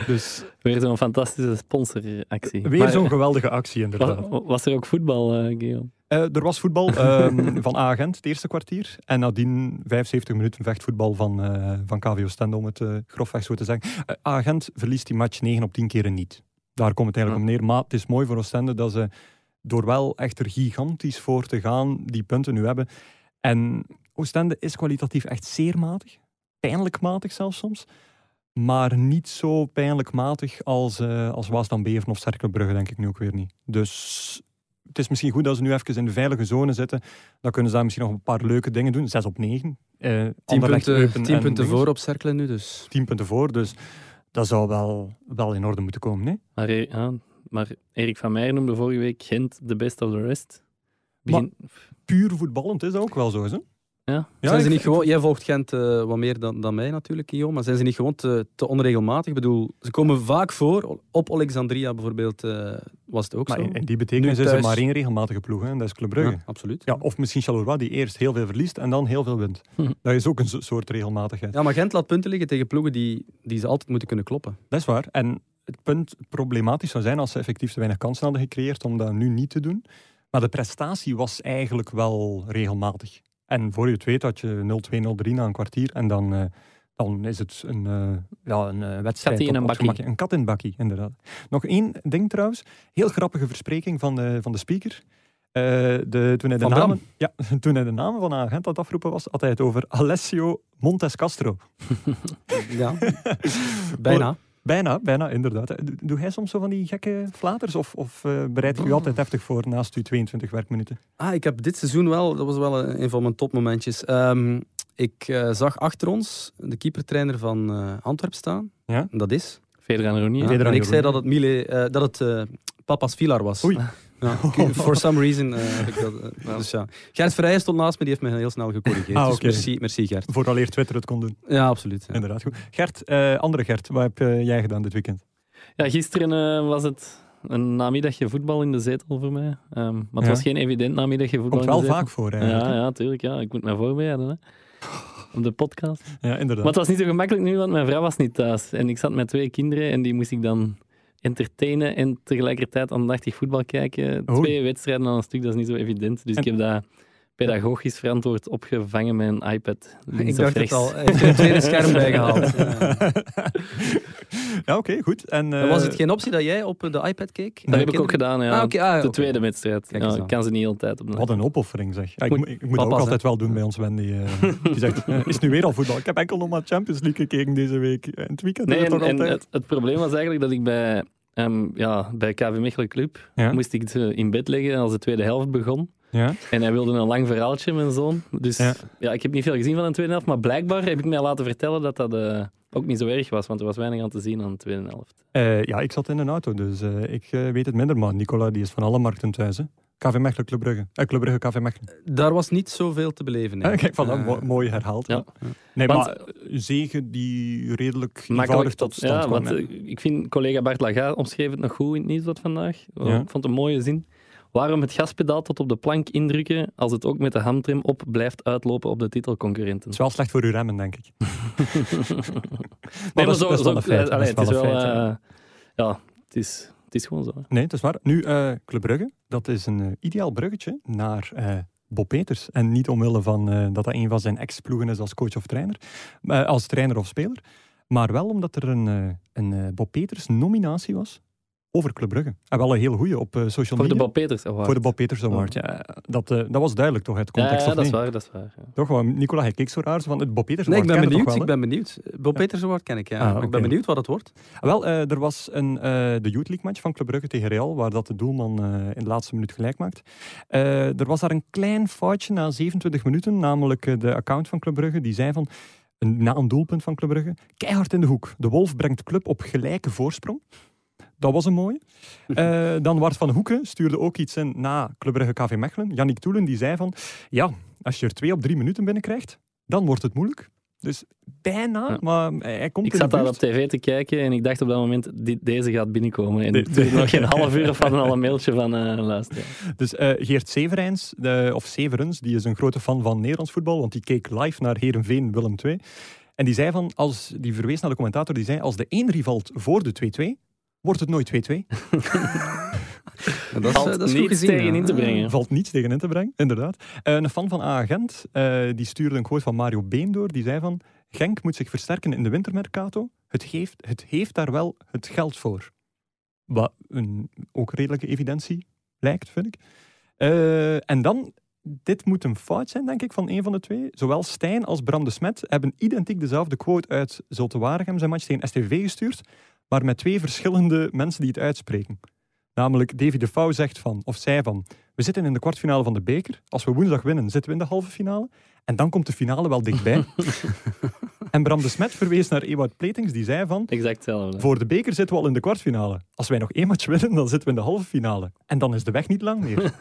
A: Dus
B: Weer zo'n fantastische sponsoractie.
A: weer
B: Maar
A: zo'n geweldige actie, inderdaad.
B: wa- Was, er ook voetbal, eh Guillaume?
A: Eh, er was voetbal ehm, [LAUGHS] van Agent, het eerste kwartier. En nadien 75 minuten vechtvoetbal van, eh van KVO Stende, om het eh, grofweg zo te zeggen. Eh, Agent verliest die match 9 op 10 keren niet. Daar komt het eigenlijk om neer. Maar het is mooi voor Oostende dat ze door wel echt er gigantisch voor te gaan, die punten nu hebben. En Oostende is kwalitatief echt zeer matig. Pijnlijk matig zelfs soms. Maar niet zo pijnlijk matig als, eh als Waasdam Beven of Cerkelbrugge, denk ik nu ook weer niet. Dus het is misschien goed dat ze nu even in de veilige zone zitten. Dan kunnen ze daar misschien nog een paar leuke dingen doen. 6 op 9. Eh
C: 10
A: Anderlecht,
C: punten,
A: Eupen
C: tien
A: en
C: punten
A: dinges.
C: voor op cirkelen nu dus.
A: 10 punten voor. Dus dat zou wel, wel in orde moeten komen. Nee?
B: Maar, eh, ja, maar Erik van Meijer noemde vorige week Gent de best of the rest. Begin-
A: Puur voetballend is dat ook wel zo. Hè? Ja,
C: zijn ze
A: ik-
C: niet
A: ik-
C: gewoon, jij volgt Gent eh, wat meer dan, dan mij natuurlijk, Guillaume, maar zijn ze niet gewoon te, te onregelmatig? Ik bedoel, ze komen vaak voor. Op Alexandria bijvoorbeeld eh, was het ook
A: Maar
C: zo.
A: in, in die betekenis is
C: Nu
A: er
C: thuis.
A: maar één regelmatige ploeg, hè, en dat is Club Brugge.
C: Ja, absoluut.
A: Ja, of misschien Charleroi, die eerst heel veel verliest en dan heel veel wint.
B: Hm.
A: Dat is ook een zo- soort regelmatigheid.
C: Ja, maar Gent laat punten liggen tegen ploegen die, die ze altijd moeten kunnen kloppen.
A: Dat is waar. En het punt problematisch zou zijn als ze effectief te weinig kansen hadden gecreëerd om dat nu niet te doen. Maar de prestatie was eigenlijk wel regelmatig. En voor je het weet had je 0-2, 0-3 na een kwartier en dan, eh, dan is het een, eh, ja, een eh, wedstrijd.
B: Kat in
A: op-
B: een
A: op het
B: bakkie.
A: gemakje. Een kat in een bakkie, inderdaad. Nog één ding trouwens. Heel grappige verspreking van de, van de speaker. Eh, de, toen, hij de
C: Van Bram?
A: namen, ja, [LAUGHS] toen hij de namen van een agent aan het afroepen was, had hij het over Alessio Montes Castro. [LAUGHS]
C: Ja, bijna.
A: Bijna, bijna, inderdaad. Doe- Doe jij soms zo van die gekke flaters? Of, of eh, bereid je je altijd heftig voor naast je 22 werkminuten?
C: Ah, ik heb dit seizoen wel, dat was wel eh, een, een van mijn topmomentjes. Ehm, ik eh, zag achter ons de keepertrainer van eh Antwerpen staan.
A: Ja?
C: Dat is.
B: Federer en Roenier.
C: Ja,
A: Federer
C: en ik
A: Jeroen.
C: zei dat het, Mile, eh, dat het eh, Papa's Vilar was.
A: Oei.
C: [LAUGHS] Ja,
A: [LAUGHS]
C: ik- for some reason eh, heb ik dat. eh,
B: Ja.
C: Dus ja. Gert Vrijen stond naast me, die heeft me heel snel gecorrigeerd.
A: Ah,
C: Dus
A: oké.
C: merci, merci Gert.
A: Vooraleer Twitter het kon doen.
C: Ja, absoluut. ja.
A: Inderdaad, goed. Gert, eh, andere Gert, wat heb eh, jij gedaan dit weekend?
B: Ja, gisteren eh, was het een namiddagje voetbal in de zetel voor mij. Ehm, maar het
A: Ja.
B: was geen evident namiddagje voetbal
A: Komt wel
B: in de
A: vaak voor,
B: zetel.
A: eigenlijk.
B: Ja, ja, tuurlijk. Ja. Ik moet mij voorbereiden. Hè. Op de podcast.
A: hè? Ja, inderdaad.
B: Maar het was niet zo gemakkelijk nu, want mijn vrouw was niet thuis. En ik zat met twee kinderen en die moest ik dan entertainen en tegelijkertijd aandachtig voetbal kijken.
A: Oei.
B: Twee wedstrijden aan een stuk, dat is niet zo evident. Dus
A: En-
B: ik heb dat pedagogisch verantwoord opgevangen met een iPad. Links
C: Ah, Ik
B: of
C: dacht het
B: rechts.
C: al. Hij heeft er een
A: [LAUGHS]
C: tweede scherm bijgehaald.
A: Eh,
C: Ja.
A: [LAUGHS] ja, oké, goed. En, eh,
C: was het geen optie dat jij op eh, de iPad keek?
B: Dat heb ik ook gedaan, ja.
C: Ah, oké, ah,
B: de
C: oké.
B: tweede wedstrijd.
C: Kijk eens
B: Ja, ik
C: aan.
B: kan ze niet altijd op de-
A: Wat een opoffering, zeg. Ja, ik,
B: Moet-
A: moet- ik moet dat ook
C: Papa's,
A: altijd wel doen bij ons, Wendy. eh, die zegt, eh, is nu weer al voetbal? Ik heb enkel nog maar Champions League gekeken deze week. En het weekend
B: Nee,
A: is het
B: en,
A: toch
B: en
A: altijd...
B: het, het probleem was eigenlijk dat ik bij, ehm, ja, bij KV Mechelen Club
A: Ja.
B: moest ik ze in bed leggen als de tweede helft begon.
A: Ja?
B: En hij wilde een lang verhaaltje, mijn zoon. Dus
A: Ja.
B: ja. ik heb niet veel gezien van de tweede helft. Maar blijkbaar heb ik mij laten vertellen dat dat eh, ook niet zo erg was. Want er was weinig aan te zien aan de tweede helft.
A: Eh, ja, ik zat in een auto, dus eh, ik eh, weet het minder. Maar Nicola die is van alle markten thuis. Hè. KV Mechelen, Club Brugge. Eh, Club Brugge, KV Mechelen.
C: Daar was niet zoveel te beleven. nee.
A: Eh, [LAUGHS] kijk, voilà,
C: Eh,
A: mo- mooi herhaald.
B: ja.
A: Nee,
B: Want-
A: maar zegen die redelijk
B: Makkelijk
A: eenvoudig tot stand
B: ja,
A: kwam.
B: want
A: hè.
B: eh, ik vind collega Bart Laga omschreef het nog goed in het nieuwsblad vandaag. Oh,
A: Ja.
B: Ik vond het een mooie zin. Waarom het gaspedaal tot op de plank indrukken als het ook met de handrem op blijft uitlopen op de titelconcurrenten?
A: Het is wel slecht voor uw remmen, denk ik.
B: Nee,
A: dat is- dat is wel
B: zo-
A: een feit,
B: allee,
A: dat is
B: het is
A: wel een
B: wel,
A: feit, ja.
B: eh, ja, het is, het is gewoon zo. hè.
A: Nee, het is waar. Nu, eh Club Brugge, dat is een eh, ideaal bruggetje naar eh, Bob Peters. En niet omwille van eh, dat dat een van zijn ex-ploegen is als coach of trainer, eh, als trainer of speler. Maar wel omdat er een, eh, een eh, Bob Peters nominatie was over Club Brugge. En wel een heel goeie op eh, social
B: Voor de
A: media.
B: Bob Peters Award.
A: Voor de Bob Peters Award, ja. Dat, eh, dat was duidelijk toch, uit
B: ja,
A: context
B: ja,
A: of
B: dat is
A: niet?
B: waar, dat is waar. ja.
A: Toch wel, Nicola, hij keek zo raar, zo van het Bob Peters
C: Nee, ik
A: Award
C: ben
A: kennen we
C: benieuwd.
A: toch
C: ik ben benieuwd. Bob Peters Award ken ik, ja.
A: Ah,
C: Maar Ik
A: oké.
C: ben benieuwd wat het [LAUGHS] wordt.
A: Wel, eh, er was een, eh, de Youth League match van Club Brugge tegen Real, waar dat de doelman eh, in de laatste minuut gelijk maakt. Eh, er was daar een klein foutje na 27 minuten, namelijk eh, de account van Club Brugge, die zei van, een- na een doelpunt van Club Brugge, keihard in de hoek. De Wolf brengt Club op gelijke voorsprong. Dat was een
B: [LAUGHS]
A: mooie. Eh, dan Wart van Hoeken stuurde ook iets in na Club Brugge KV Mechelen. Yannick Toelen die zei van, ja, als je er twee op drie minuten binnenkrijgt, dan wordt het moeilijk. Dus bijna,
B: Ja.
A: maar hij hij komt
B: Ik
A: in
B: zat
A: de
B: daar
A: buurt.
B: op tv te kijken en ik dacht op dat moment, dit, deze gaat binnenkomen. En
A: De-
B: toen
A: de- [LAUGHS]
B: nog geen half uur of hadden al een mailtje van eh luister.
A: Dus eh, Geert Severijns, de- of Severens, die is een grote fan van Nederlands voetbal, want die keek live naar Herenveen Willem II. En die zei van, als, die verwees naar de commentator, die zei, als de 1-3 valt voor de 2-2, wordt het nooit 2-2.
C: Dat is,
B: Valt
C: eh, dat is goed
B: niets
C: gezien.
B: tegen
C: ja.
B: in te brengen.
A: Valt niets tegen in te brengen, inderdaad. Eh, een fan van A-agent, eh, die stuurde een quote van Mario Been door, die zei van, Genk moet zich versterken in de wintermercato, het, geeft, het heeft daar wel het geld voor. Wat een ook redelijke evidentie lijkt, vind ik. Eh, en dan, dit moet een fout zijn, denk ik, van een van de twee. Zowel Stijn als Bram de Smet hebben identiek dezelfde quote uit Zulte Waregem, zijn match tegen STV gestuurd, maar met twee verschillende mensen die het uitspreken. Namelijk, Davy de Fouw zegt van, of zij van, we zitten in de kwartfinale van de beker. Als we woensdag winnen, zitten we in de halve finale. En dan komt de finale wel dichtbij. en Bram de Smet verwees naar Ewout Pletings, die zei van,
B: Exact hetzelfde.
A: voor de beker zitten we al in de kwartfinale. Als wij nog één match winnen, dan zitten we in de halve finale. En dan is de weg niet lang meer.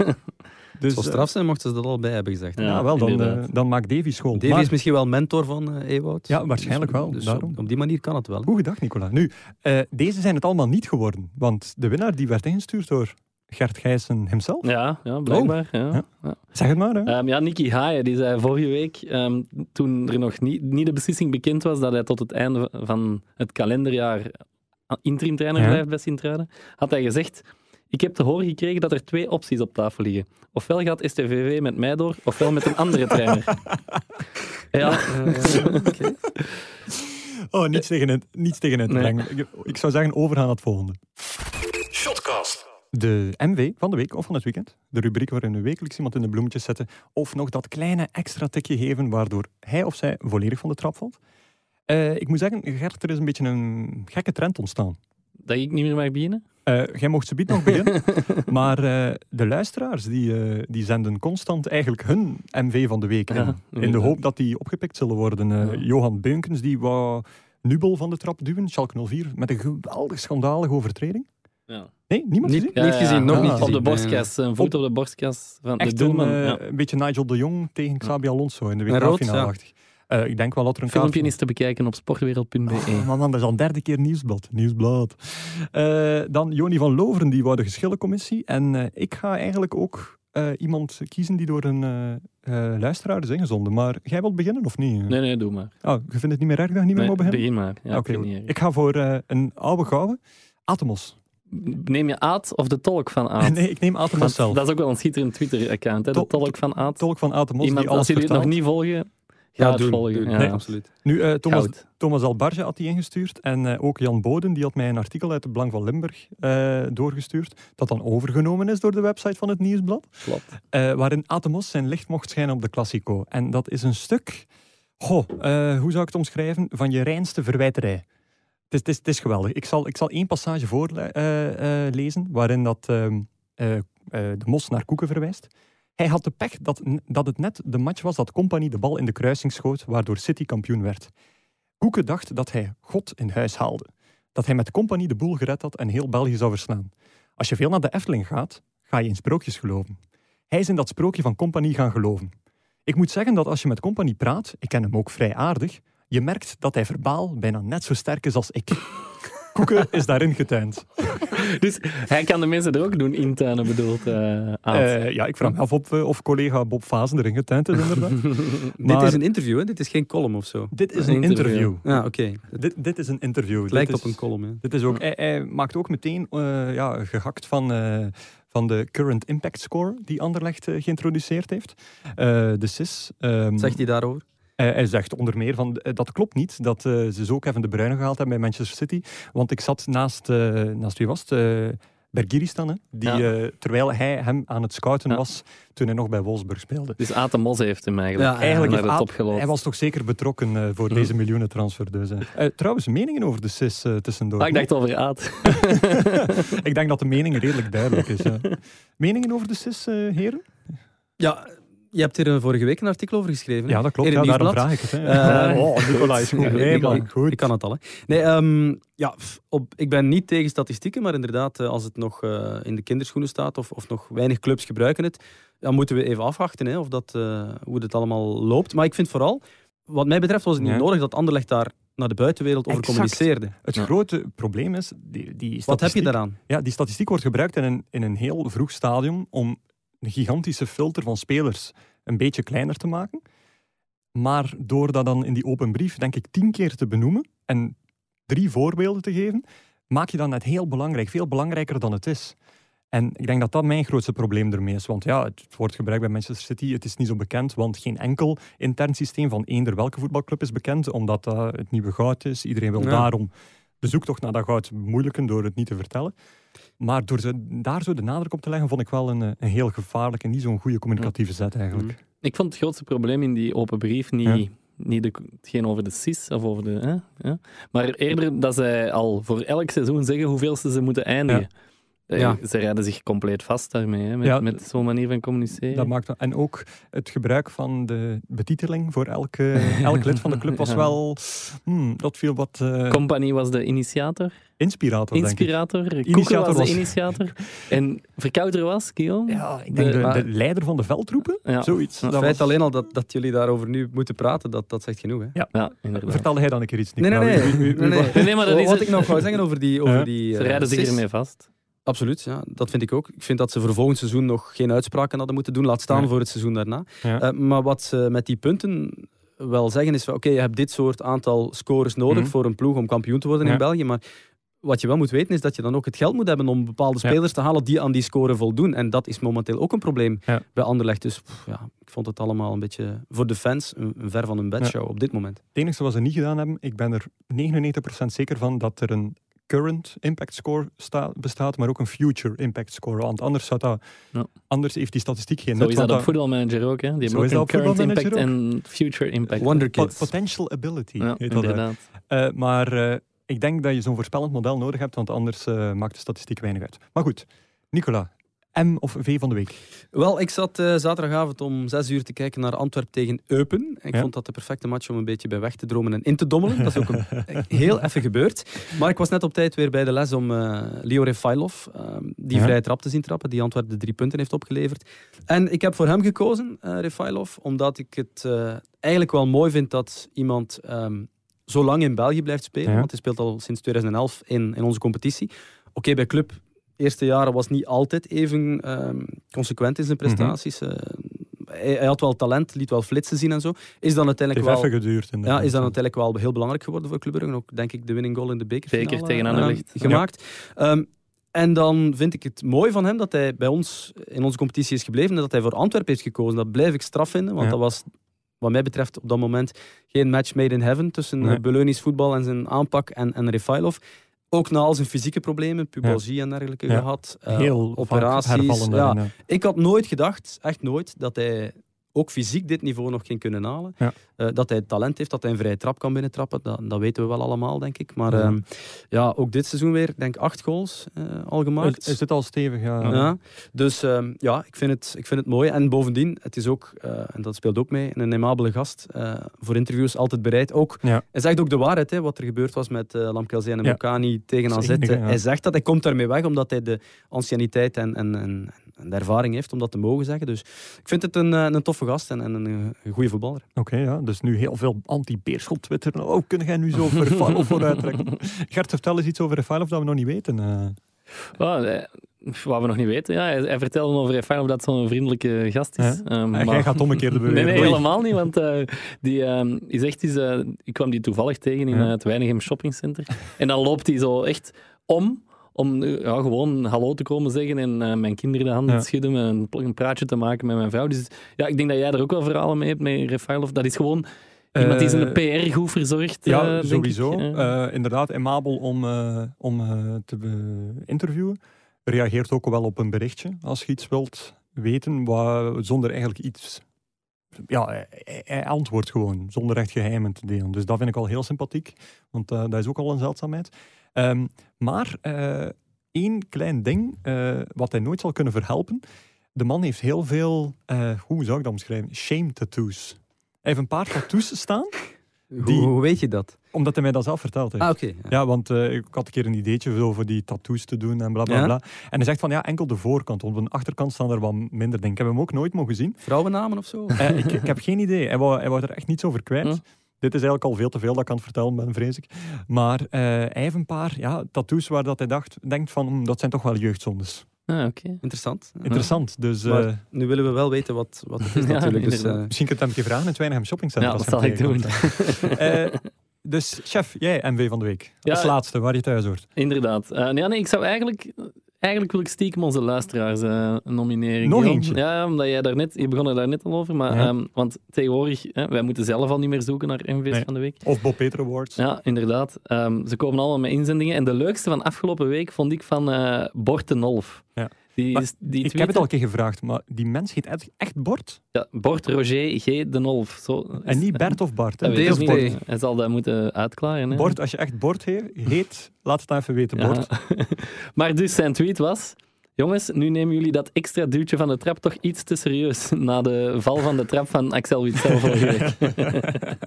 A: Dus,
C: Zo eh, straf zijn mochten ze dat al bij hebben gezegd.
A: eh,
B: Ja,
A: ja, wel, dan, eh,
B: inderdaad.
A: dan maakt Davy school.
C: Davy
A: Maar-
C: is misschien wel mentor van eh Ewout.
A: Ja, waarschijnlijk wel,
C: Dus
A: daarom.
C: Op, op die manier kan het wel.
A: Goed gedacht, Nicola. Nu, eh, deze zijn het allemaal niet geworden, want de winnaar die werd ingestuurd door Gert Gijssen hemzelf.
B: Ja, ja blijkbaar.
A: Oh. Ja.
B: Ja. Ja.
A: Zeg het maar, hè.
B: Ehm, ja, Nicky Haaien die zei vorige week, ehm, toen er nog niet, niet de beslissing bekend was dat hij tot het einde van het kalenderjaar ah, interim trainer
A: Ja.
B: blijft bij Sint-Truiden, had hij gezegd, ik heb te horen gekregen dat er twee opties op tafel liggen. Ofwel gaat STVV met mij door, ofwel met een andere
A: [LAUGHS]
B: trainer. ja,
A: Oh, niets tegen het, niets tegen het
B: Nee.
A: brengen. Ik, ik zou zeggen, overgaan naar het volgende.
D: Shotcast.
A: De MW van de week of van het weekend. De rubriek waarin we wekelijks iemand in de bloemetjes zetten. Of nog dat kleine extra tikje geven waardoor hij of zij volledig van de trap valt. Eh, ik moet zeggen, Gert, er is een beetje een gekke trend ontstaan.
B: dat ik niet meer mag beginnen.
A: Eh, jij mocht ze nog
B: [LAUGHS]
A: beginnen. maar eh, de luisteraars die, eh, die zenden constant eigenlijk hun MV van de week. in.
B: Ja,
A: in de
B: inderdaad.
A: hoop dat die opgepikt zullen worden. Eh,
B: Ja.
A: Johan Beunkens die wou Nubel van de trap duwen, Schalke 04, met een geweldig schandalige overtreding.
B: Ja.
A: Nee, niemand
C: Niet,
A: gezien?
B: Ja,
C: niet
B: ja,
C: gezien,
B: ja.
C: nog
A: Ah.
C: niet gezien.
B: Op de
C: Nee.
B: borstkas, een voet op de borstkas van de
A: Echt een,
B: doelman.
A: eh,
B: ja.
A: een beetje Nigel de Jong tegen Xabi Alonso in de
C: En rood,
A: WK-finale-achtig. Eh, ik denk wel dat er een kaart
B: Filmpje is te bekijken op sportwereld.be.
A: Oh, maar man, dat is al een derde keer nieuwsblad. Nieuwsblad. Eh, dan Joni van Loveren, die wou de geschillencommissie. En eh, ik ga eigenlijk ook eh, iemand kiezen die door een eh, eh, luisteraar is ingezonden. Maar jij wilt beginnen of niet?
B: Nee, nee, doe maar.
A: Oh, je vindt het niet meer erg dat je niet meer
B: Nee,
A: mag beginnen?
B: begin maar. Ja,
A: Oké,
B: vind ik niet erg.
A: ik ga voor eh, een oude gouden. Atomos.
B: Neem je Aad of de tolk van
A: [LAUGHS]
B: Aad?
A: Nee, ik neem Atomos
B: Want
A: zelf.
B: Ah. Dat is ook wel een schitterend Twitter-account, hè? de
A: Tol-
B: tolk van Aad.
A: Tolk van Atomos,
B: Iemand,
A: die alles
B: als jullie het nog
A: vertaalt.
B: niet volgen, ga
C: Ja,
B: het
C: doen.
B: volgen.
C: doen.
B: Ja.
C: Nee, absoluut.
A: Nu, eh, Thomas,
B: Goud.
A: Thomas Albarge had die ingestuurd. En eh, ook Jan Boden, die had mij een artikel uit de Belang van Limburg eh, doorgestuurd. Dat dan overgenomen is door de website van het Nieuwsblad.
B: Klopt.
A: eh, waarin Atemos zijn licht mocht schijnen op de Classico. En dat is een stuk, goh, eh, hoe zou ik het omschrijven, van je reinste verwijterij. Het is, het is, het is geweldig. Ik zal, ik zal één passage voorlezen lezen waarin dat, ehm, eh, eh, de mos naar Koeken verwijst. Hij had de pech dat, n- dat het net de match was dat Company de bal in de kruising schoot, waardoor City kampioen werd. Koeken dacht dat hij God in huis haalde. Dat hij met Company de boel gered had en heel België zou verslaan. Als je veel naar de Efteling gaat, ga je in sprookjes geloven. Hij is in dat sprookje van Company gaan geloven. Ik moet zeggen dat als je met Company praat, ik ken hem ook vrij aardig, je merkt dat hij verbaal bijna net zo sterk is als ik. [LAUGHS] Koeken is daarin getuind.
B: Dus hij kan de mensen er ook doen intuinen, bedoelt eh Aad.
A: Eh, ja, ik vraag me af of, eh, of collega Bob Vazen erin getuind is inderdaad. Maar-
C: [LAUGHS] Dit is een interview, hè? dit is geen column of zo.
A: Dit is een
B: Interview.
A: interview.
C: Ja, oké. Het
A: Dit, dit is een interview. Dit
C: lijkt
A: is-
C: op een column. Hè.
A: Dit is ook, hij, hij maakt ook meteen eh, ja, gehakt van, eh, van de current impact score die Anderlecht eh, geïntroduceerd heeft. Eh, de CIS. ehm,
C: Zegt hij daarover?
A: Eh, hij zegt onder meer van, eh, dat klopt niet, dat eh, ze zo Kevin De Bruyne gehaald hebben bij Manchester City. Want ik zat naast, eh, naast wie was het? Eh, Bergiri staan, hè? die,
B: Ja.
A: eh, terwijl hij hem aan het scouten
B: Ja.
A: was toen hij nog bij Wolfsburg speelde.
B: Dus Aad de Mos heeft hem eigenlijk,
C: Ja,
A: Eigenlijk
B: naar
A: heeft
B: de top
A: Aad-
B: geloofd.
A: hij was toch zeker betrokken eh, voor
B: Hm.
A: deze miljoenentransfer. Dus, eh. Eh, trouwens, meningen over de CIS eh, tussendoor.
B: Ah, ik dacht over Aad.
A: Ik denk dat de mening redelijk duidelijk is. ja. Meningen over de CIS, eh, heren?
C: Ja, je hebt hier eh, vorige week een artikel over geschreven. hè?
A: Ja, dat klopt.
C: In
A: Ja,
C: het
A: daarom
C: Nieuwsblad.
A: vraag ik [LAUGHS] het. Hè.
C: Eh,
A: oh, Nicola is goed.
C: Ja,
A: Nee,
C: ik-
A: maar
C: ik-
A: goed.
C: Ik kan het al. Hè. Nee, ehm, ja, pff, op, ik ben niet tegen statistieken, maar inderdaad, eh, als het nog eh, in de kinderschoenen staat of, of nog weinig clubs gebruiken het, dan moeten we even afwachten hè, of dat, eh, hoe dit allemaal loopt. Maar ik vind vooral, wat mij betreft, was het niet
A: Ja.
C: nodig dat Anderlecht daar naar de buitenwereld over
A: Exact.
C: communiceerde.
A: Het
B: Ja.
A: grote probleem is, die, die
C: Wat heb je
A: statistiek-
C: daaraan?
A: Ja, die statistiek wordt gebruikt in een, in een heel vroeg stadium om een gigantische filter van spelers een beetje kleiner te maken. Maar door dat dan in die open brief, denk ik, tien keer te benoemen en drie voorbeelden te geven, maak je dat net heel belangrijk, veel belangrijker dan het is. En ik denk dat dat mijn grootste probleem ermee is. Want ja, het wordt gebruikt bij Manchester City, het is niet zo bekend, want geen enkel intern systeem van eender welke voetbalclub is bekend, omdat dat het nieuwe goud is. Iedereen wil
C: Ja.
A: daarom de zoektocht naar dat goud moeilijken door het niet te vertellen. Maar door ze, daar zo de nadruk op te leggen, vond ik wel een, eh, een heel gevaarlijke, niet zo'n goede communicatieve zet eigenlijk.
B: Ik vond het grootste probleem in die open brief niet,
A: Ja.
B: niet de, hetgeen over de CIS of over de. Hè, ja. Maar eerder dat zij al voor elk seizoen zeggen hoeveel ze, ze moeten eindigen. Eh,
C: Ja.
B: Ze rijden zich compleet vast daarmee, hè, met,
A: Ja.
B: met zo'n manier van communiceren.
A: Dat maakt, en ook het gebruik van de betiteling voor elke, elk lid van de club was
B: [LAUGHS] Ja.
A: wel... hmm, dat viel wat eh
B: Company was de initiator,
A: inspirator, denk ik.
B: inspirator, Koeken
A: Initiator
B: was
A: was-
B: de initiator. En Verkouter was, Guillaume.
A: Ja, ik denk
B: De-
A: de, de
B: maar-
A: leider van de veldroepen,
B: Ja.
A: zoiets.
B: Ja.
A: Dat
C: Het feit
A: was-
C: alleen al dat, dat jullie daarover nu moeten praten, dat, dat zegt genoeg. Hè?
B: Ja, inderdaad.
A: Vertelde hij dan een keer iets? Nick?
C: Nee, nee,
A: Nou,
C: nee.
A: u- u- u-
C: nee, nee.
B: Nee, nee, maar dat is
C: Wat
B: het.
C: ik nog wou zeggen over die... Over
A: Ja.
C: die
B: Ze
C: eh,
B: rijden zich
C: cis-
B: ermee vast.
C: Absoluut, ja, dat vind ik ook. Ik vind dat ze voor volgend seizoen nog geen uitspraken hadden moeten doen, laat staan
A: Nee.
C: voor het seizoen daarna.
A: Ja.
C: Eh, maar wat ze met die punten wel zeggen is, van, oké, je hebt dit soort aantal scores nodig
A: Mhm.
C: voor een ploeg om kampioen te worden in
A: Ja.
C: België, maar wat je wel moet weten is dat je dan ook het geld moet hebben om bepaalde
A: Ja.
C: spelers te halen die aan die score voldoen. En dat is momenteel ook een probleem
A: Ja.
C: bij Anderlecht. Dus pff, ja, ik vond het allemaal een beetje voor de fans een, een ver van een bedshow op dit moment.
A: Het enige wat ze niet gedaan hebben, ik ben er 99% zeker van dat er een current impact score sta- bestaat, maar ook een future impact score. Want anders, zou dat,
B: Ja.
A: anders heeft die statistiek geen
B: Zo
A: nut.
B: is
A: want
B: dat op voetbalmanager ook, hè? Die
A: Zo
B: hebben ook
A: is dat
B: een
A: op
B: current
A: voetbalmanager
B: impact en future impact.
C: Wonder
A: po-
C: Kids.
A: potential ability
B: Ja,
A: heet dat. hè.
B: inderdaad.
A: Eh, maar eh, ik denk dat je zo'n voorspellend model nodig hebt, want anders eh, maakt de statistiek weinig uit. Maar goed, Nicola, M of V van de week?
C: Wel, ik zat eh, zaterdagavond om zes uur te kijken naar Antwerpen tegen Eupen. En ik
A: Ja.
C: vond dat de perfecte match om een beetje bij weg te dromen en in te dommelen. Dat is ook
A: [LAUGHS]
C: een, eh, heel even gebeurd. Maar ik was net op tijd weer bij de les om eh Leo Refailov, ehm, die
A: Ja.
C: vrije trap te zien trappen, die Antwerpen de drie punten heeft opgeleverd. En ik heb voor hem gekozen, eh Refailov, omdat ik het eh, eigenlijk wel mooi vind dat iemand ehm, zo lang in België blijft spelen.
A: Ja.
C: Want hij speelt al sinds 2011 in, in onze competitie. Oké, bij club eerste jaren was niet altijd even ehm, consequent in zijn prestaties. Eh, hij, hij had wel talent, liet wel flitsen zien en zo. Is dan
A: Het
C: uiteindelijk
A: heeft
C: wel,
A: even geduurd.
C: ja,
A: inderdaad.
C: is dan uiteindelijk wel heel belangrijk geworden voor Club Brugge. Ook denk ik de winning goal in de bekerfinale.
B: Zeker, tegen
C: eh,
B: Anderlecht.
C: gemaakt. Ehm, en dan vind ik het mooi van hem dat hij bij ons in onze competitie is gebleven en dat hij voor Antwerpen heeft gekozen. Dat blijf ik straf vinden, want
A: Ja.
C: dat was wat mij betreft op dat moment geen match made in heaven tussen
A: Nee.
C: eh, Beleunis voetbal en zijn aanpak en, en Refailov. Ook na al zijn fysieke problemen, pubalgie en dergelijke
A: Ja.
C: gehad. eh,
A: Heel
C: operaties,
A: operaties.
C: ja. ik had nooit gedacht, echt nooit, dat hij ook fysiek dit niveau nog ging kunnen halen.
A: Ja.
C: Eh, dat hij talent heeft, dat hij een vrije trap kan binnentrappen, dat, dat weten we wel allemaal, denk ik. Maar
A: Ja.
C: ja, ja ook dit seizoen weer, denk ik, acht goals eh, al gemaakt.
A: Is, is het al stevig? Ja.
C: ja. Dus ehm, ja, ik vind, het, ik vind het mooi. En bovendien, het is ook, eh, en dat speelt ook mee, een aimabele gast. eh, voor interviews altijd bereid. Ook,
A: Ja.
C: Hij zegt ook de waarheid, hè, wat er gebeurd was met eh Lamkelzee en
A: Ja.
C: Mokani tegen
A: Dat is
C: AZ.
A: het enige, ja.
C: Hij zegt dat, hij komt daarmee weg omdat hij de anciëniteit en, en, en, en de ervaring heeft om dat te mogen zeggen. Dus ik vind het een, eh, een toffe gast en, en een, eh, goede voetballer.
A: Oké, ja. Dus nu heel veel anti-Beerschot Twitter. Oh, kunnen jij nu
C: [LAUGHS]
A: zo voor Refailov vooruit trekken? Gert, vertel eens iets over Refailov dat we nog niet weten. eh.
B: Oh, eh, wat we nog niet weten. Ja, hij, hij vertelde me over Refailov dat het zo'n vriendelijke gast is.
A: Ja.
B: Ehm,
A: En
B: maar-
A: Jij gaat omgekeerde
B: Nee,
A: beweren.
B: nee,
A: Oei.
B: helemaal niet. Want eh, die ehm, is echt eens, eh, ik kwam die toevallig tegen in
A: Ja.
B: eh, het Weinigem Shoppingcenter. En dan loopt hij zo echt om, om eh, ja, gewoon hallo te komen zeggen en eh, mijn kinderen de handen
A: Ja.
B: te schudden, een, een praatje te maken met mijn vrouw. Dus ja, ik denk dat jij er ook wel verhalen mee hebt met Refailov. Dat is gewoon iemand die zijn
A: Eh,
B: PR goed verzorgt. eh,
A: Ja,
B: denk ik.
A: sowieso.
B: Eh,
A: Eh, inderdaad, Emabel om, eh, om eh, te be- interviewen. Reageert ook wel op een berichtje als je iets wilt weten, wa- zonder eigenlijk iets. Ja, e-, hij, hij antwoordt gewoon, zonder echt geheimen te delen. Dus dat vind ik al heel sympathiek, want eh, dat is ook al een zeldzaamheid. Ehm, maar eh, één klein ding eh, wat hij nooit zal kunnen verhelpen. De man heeft heel veel, eh, hoe zou ik dat omschrijven? Shame tattoos. Hij heeft een paar tattoos staan Die-
C: Hoe, hoe weet je dat?
A: omdat hij mij dat zelf verteld heeft.
C: Ah, oké. Ja.
A: Ja, want eh, ik had een keer een ideetje zo voor die tattoos te doen en bla bla
C: Ja?
A: bla. En hij zegt van ja, enkel de voorkant. want Op de achterkant staan er wat minder dingen. Ik heb hem ook nooit mogen zien.
C: Vrouwennamen of
A: [LAUGHS]
C: zo?
A: Eh, ik, ik heb geen idee. Hij wou, hij wou er echt niets over kwijt.
B: Hm.
A: Dit is eigenlijk al veel te veel dat ik aan het vertellen ben, vrees ik. Maar eh, hij heeft een paar ja, tattoos waar dat hij dacht, denkt van hm, dat zijn toch wel jeugdzondes.
B: ah, oké.
C: Interessant. Ja.
A: Interessant. Dus eh,
C: Maar nu willen we wel weten wat, wat het is
B: Ja,
C: natuurlijk. Dus,
B: inderdaad.
C: eh,
A: misschien kunt je hem een keer vragen in het Weinigem Shopping Center.
B: Ja,
A: als
B: dat
A: je hem
B: zal ik
A: tegenkomt. [LAUGHS] Eh, dus chef, jij MW van de week.
B: Ja,
A: Als laatste, waar je thuis hoort.
B: Inderdaad. Eh, ja, nee, ik zou eigenlijk... Eigenlijk wil ik stiekem onze luisteraars eh, nomineren.
A: Nog
B: Guillaume.
A: eentje?
B: Ja, omdat jij daar net... Je begon er daar net al over, maar...
A: Ja.
B: ehm, want tegenwoordig, hè, wij moeten zelf al niet meer zoeken naar MV's
A: Nee.
B: van de week.
A: Of Bob Peter Awards.
B: Ja, inderdaad. Ehm, ze komen allemaal met inzendingen. En de leukste van afgelopen week vond ik van eh Bortenolf.
A: Ja.
B: Die,
A: Maar
B: is- die
A: Ik heb het al
B: tweette-
A: een keer gevraagd, maar die mens heet echt- echt Bort.
B: Ja, Bort Roger G. Den Olf. Zo,
A: En niet Bert of Bart. hè.
B: Dat
A: Het
B: weet
A: is
B: ik
C: D of
A: Bort.
B: niet. Hij zal dat moeten uitklaren. hè.
A: Bort, als je echt Bort heet, heet, laat het nou even weten,
B: Ja. [LAUGHS]
A: Bort.
B: maar dus zijn tweet was... Jongens, nu nemen jullie dat extra duwtje van de trap toch iets te serieus [LAUGHS] na de val van de trap van Axel Witsel vorige week. [LAUGHS]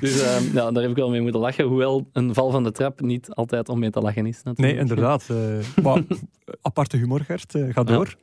B: dus ehm, ja, daar heb ik wel mee moeten lachen, hoewel een val van de trap niet altijd om mee te lachen is. Natuurlijk.
A: Nee, inderdaad. eh, maar [LAUGHS] aparte humor, Gert. eh, ga door.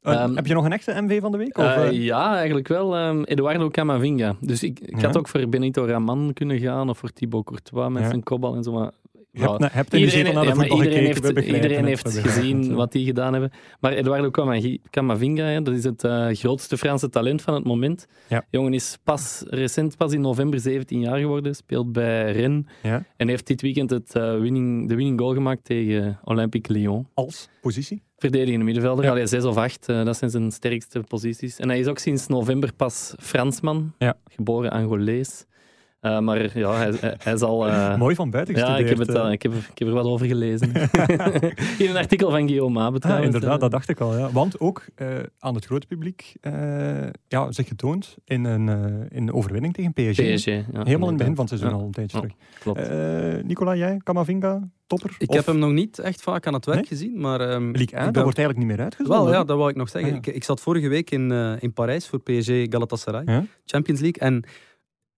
A: Eh,
B: Ehm,
A: heb je nog een echte MV van de week? Of,
B: Eh,
A: eh,
B: ja, eigenlijk wel. ehm, Eduardo Camavinga. Dus ik, ik had
A: Ja.
B: ook voor Benito Raman kunnen gaan of voor Thibaut Courtois met
A: Ja.
B: zijn kopbal en zo. Maar,
A: je hebt,
B: ja,
A: na- hebt in de zetel naar de
B: ja, maar
A: voetbal
B: iedereen
A: gekeken. eh,
B: heeft,
A: we begrijpen
B: iedereen
A: het,
B: heeft
A: we begrijpen
B: gezien
A: het.
B: wat die gedaan hebben. Maar Eduardo Camagi- Camavinga, hè, dat is het eh, grootste Franse talent van het moment.
A: Ja.
B: Jongen is pas recent, pas in november 17 jaar geworden, speelt bij Rennes
A: Ja.
B: en heeft dit weekend het, eh, winning, de winning goal gemaakt tegen Olympique Lyon.
A: Als positie?
B: Verdedigende middenvelder,
A: Ja.
B: allee, zes of acht, eh, dat zijn zijn sterkste posities. En hij is ook sinds november pas Fransman,
A: Ja.
B: geboren Angolees. Eh, maar ja, hij, hij- hij zal... eh,
A: [LAUGHS] Mooi van buiten
B: ja,
A: gestudeerd.
B: ik heb, het,
A: eh.
B: al- ik, heb, ik heb er wat over
A: [LAUGHS]
B: gelezen. In een artikel van Guillaume Mabe
A: Ah,
B: trouwens,
A: inderdaad,
B: eh.
A: dat dacht ik al. Ja. Want ook eh, aan het grote publiek eh, ja, zich getoond in een, eh, in een overwinning tegen PSG.
B: PSG.
A: Helemaal
B: ja,
A: in het begin
B: inderdaad.
A: van het seizoen
B: Ja,
A: al een tijdje
B: Ja,
A: terug.
B: Klopt.
A: Eh, Nicola, jij, Kamavinga, topper?
C: Ik
A: Of
C: heb hem nog niet echt vaak aan het werk
A: Nee?
C: gezien, maar... ehm,
A: Ligue 1,
C: ik
A: dat
C: ben-
A: wordt eigenlijk niet meer uitgezonden.
C: Wel, ja,
A: hè?
C: dat wou ik nog zeggen.
A: Ah, ja.
C: ik, ik zat vorige week in, eh, in Parijs voor PSG Galatasaray,
A: Ja.
C: Champions League. En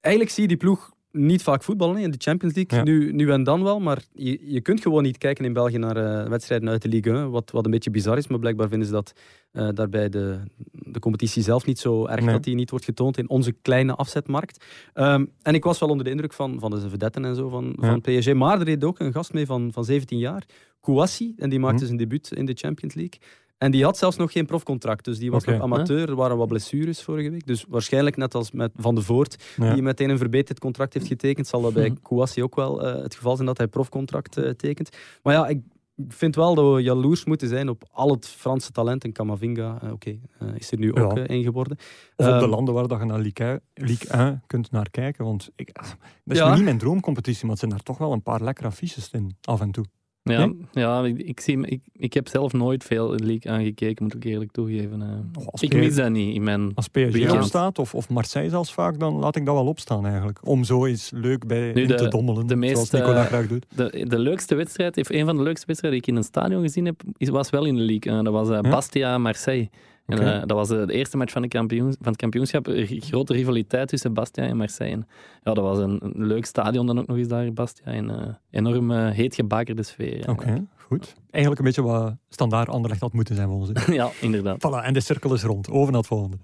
C: eigenlijk zie je die ploeg niet vaak voetballen hè, in de Champions League.
A: Ja.
C: Nu, nu en dan wel, maar je, je kunt gewoon niet kijken in België naar eh, wedstrijden uit de Ligue 1. Wat, wat een beetje bizar is, maar blijkbaar vinden ze dat eh, daarbij de, de competitie zelf niet zo erg
A: Nee.
C: dat die niet wordt getoond in onze kleine afzetmarkt. Ehm, en ik was wel onder de indruk van, van de vedetten en zo van,
A: Ja.
C: van PSG. Maar er reed ook een gast mee van, van 17 jaar, Kouassi, en die maakte
A: Hm.
C: zijn debuut in de Champions League. En die had zelfs nog geen profcontract, dus die was
A: Oké.
C: nog amateur. Er waren wat blessures vorige week. Dus waarschijnlijk, net als met Van de Voort,
A: Ja. Mhm.
C: die meteen een verbeterd contract heeft getekend, zal dat bij Kouassi ook wel eh, het geval zijn dat hij profcontract eh, tekent. Maar ja, ik vind wel dat we jaloers moeten zijn op al het Franse talent. En Camavinga, eh, oké, eh, is er nu ook
A: Ja.
C: eh, in geworden.
A: Of op de
C: Ehm,
A: landen waar dat je naar Ligue 1, Ligue 1 kunt naar kijken. Want ik, ah, dat is
C: Ja.
A: nu niet mijn droomcompetitie, maar het zijn daar toch wel een paar lekkere affiches in, af en toe.
B: Ja,
A: Nee?
B: ja ik, ik zie, hem- ik, ik heb zelf nooit veel league aangekeken, moet ik eerlijk toegeven. eh.
A: Oh, als
B: ik
A: P-
B: mis dat niet in mijn...
A: Als
B: Weekend.
A: PSG opstaat, of, of Marseille zelfs vaak, dan laat ik dat wel opstaan eigenlijk. Om zo eens leuk bij
B: Nu,
A: in
B: de-
A: te dommelen,
B: de
A: zoals
B: meeste-
A: Nicola graag doet.
B: De, de leukste wedstrijd, of een van de leukste wedstrijden die ik in een stadion gezien heb, is, was wel in de league. eh. dat was eh, Bastia Marseille. En,
A: Hm? Oké.
B: eh, dat was eh, de eerste match van, de kampioen, van het kampioenschap. Er- Grote rivaliteit tussen Bastia en Marseille. En Ja, dat was een, een leuk stadion dan ook nog eens daar in Bastia. En eh, enorm eh, heet gebakerde sfeer. ja.
A: Oké, goed. Eigenlijk een beetje wat standaard Anderlecht had moeten zijn volgens mij.
B: [LAUGHS] ja, inderdaad.
A: Voilà, en de cirkel is rond. Over naar het volgende.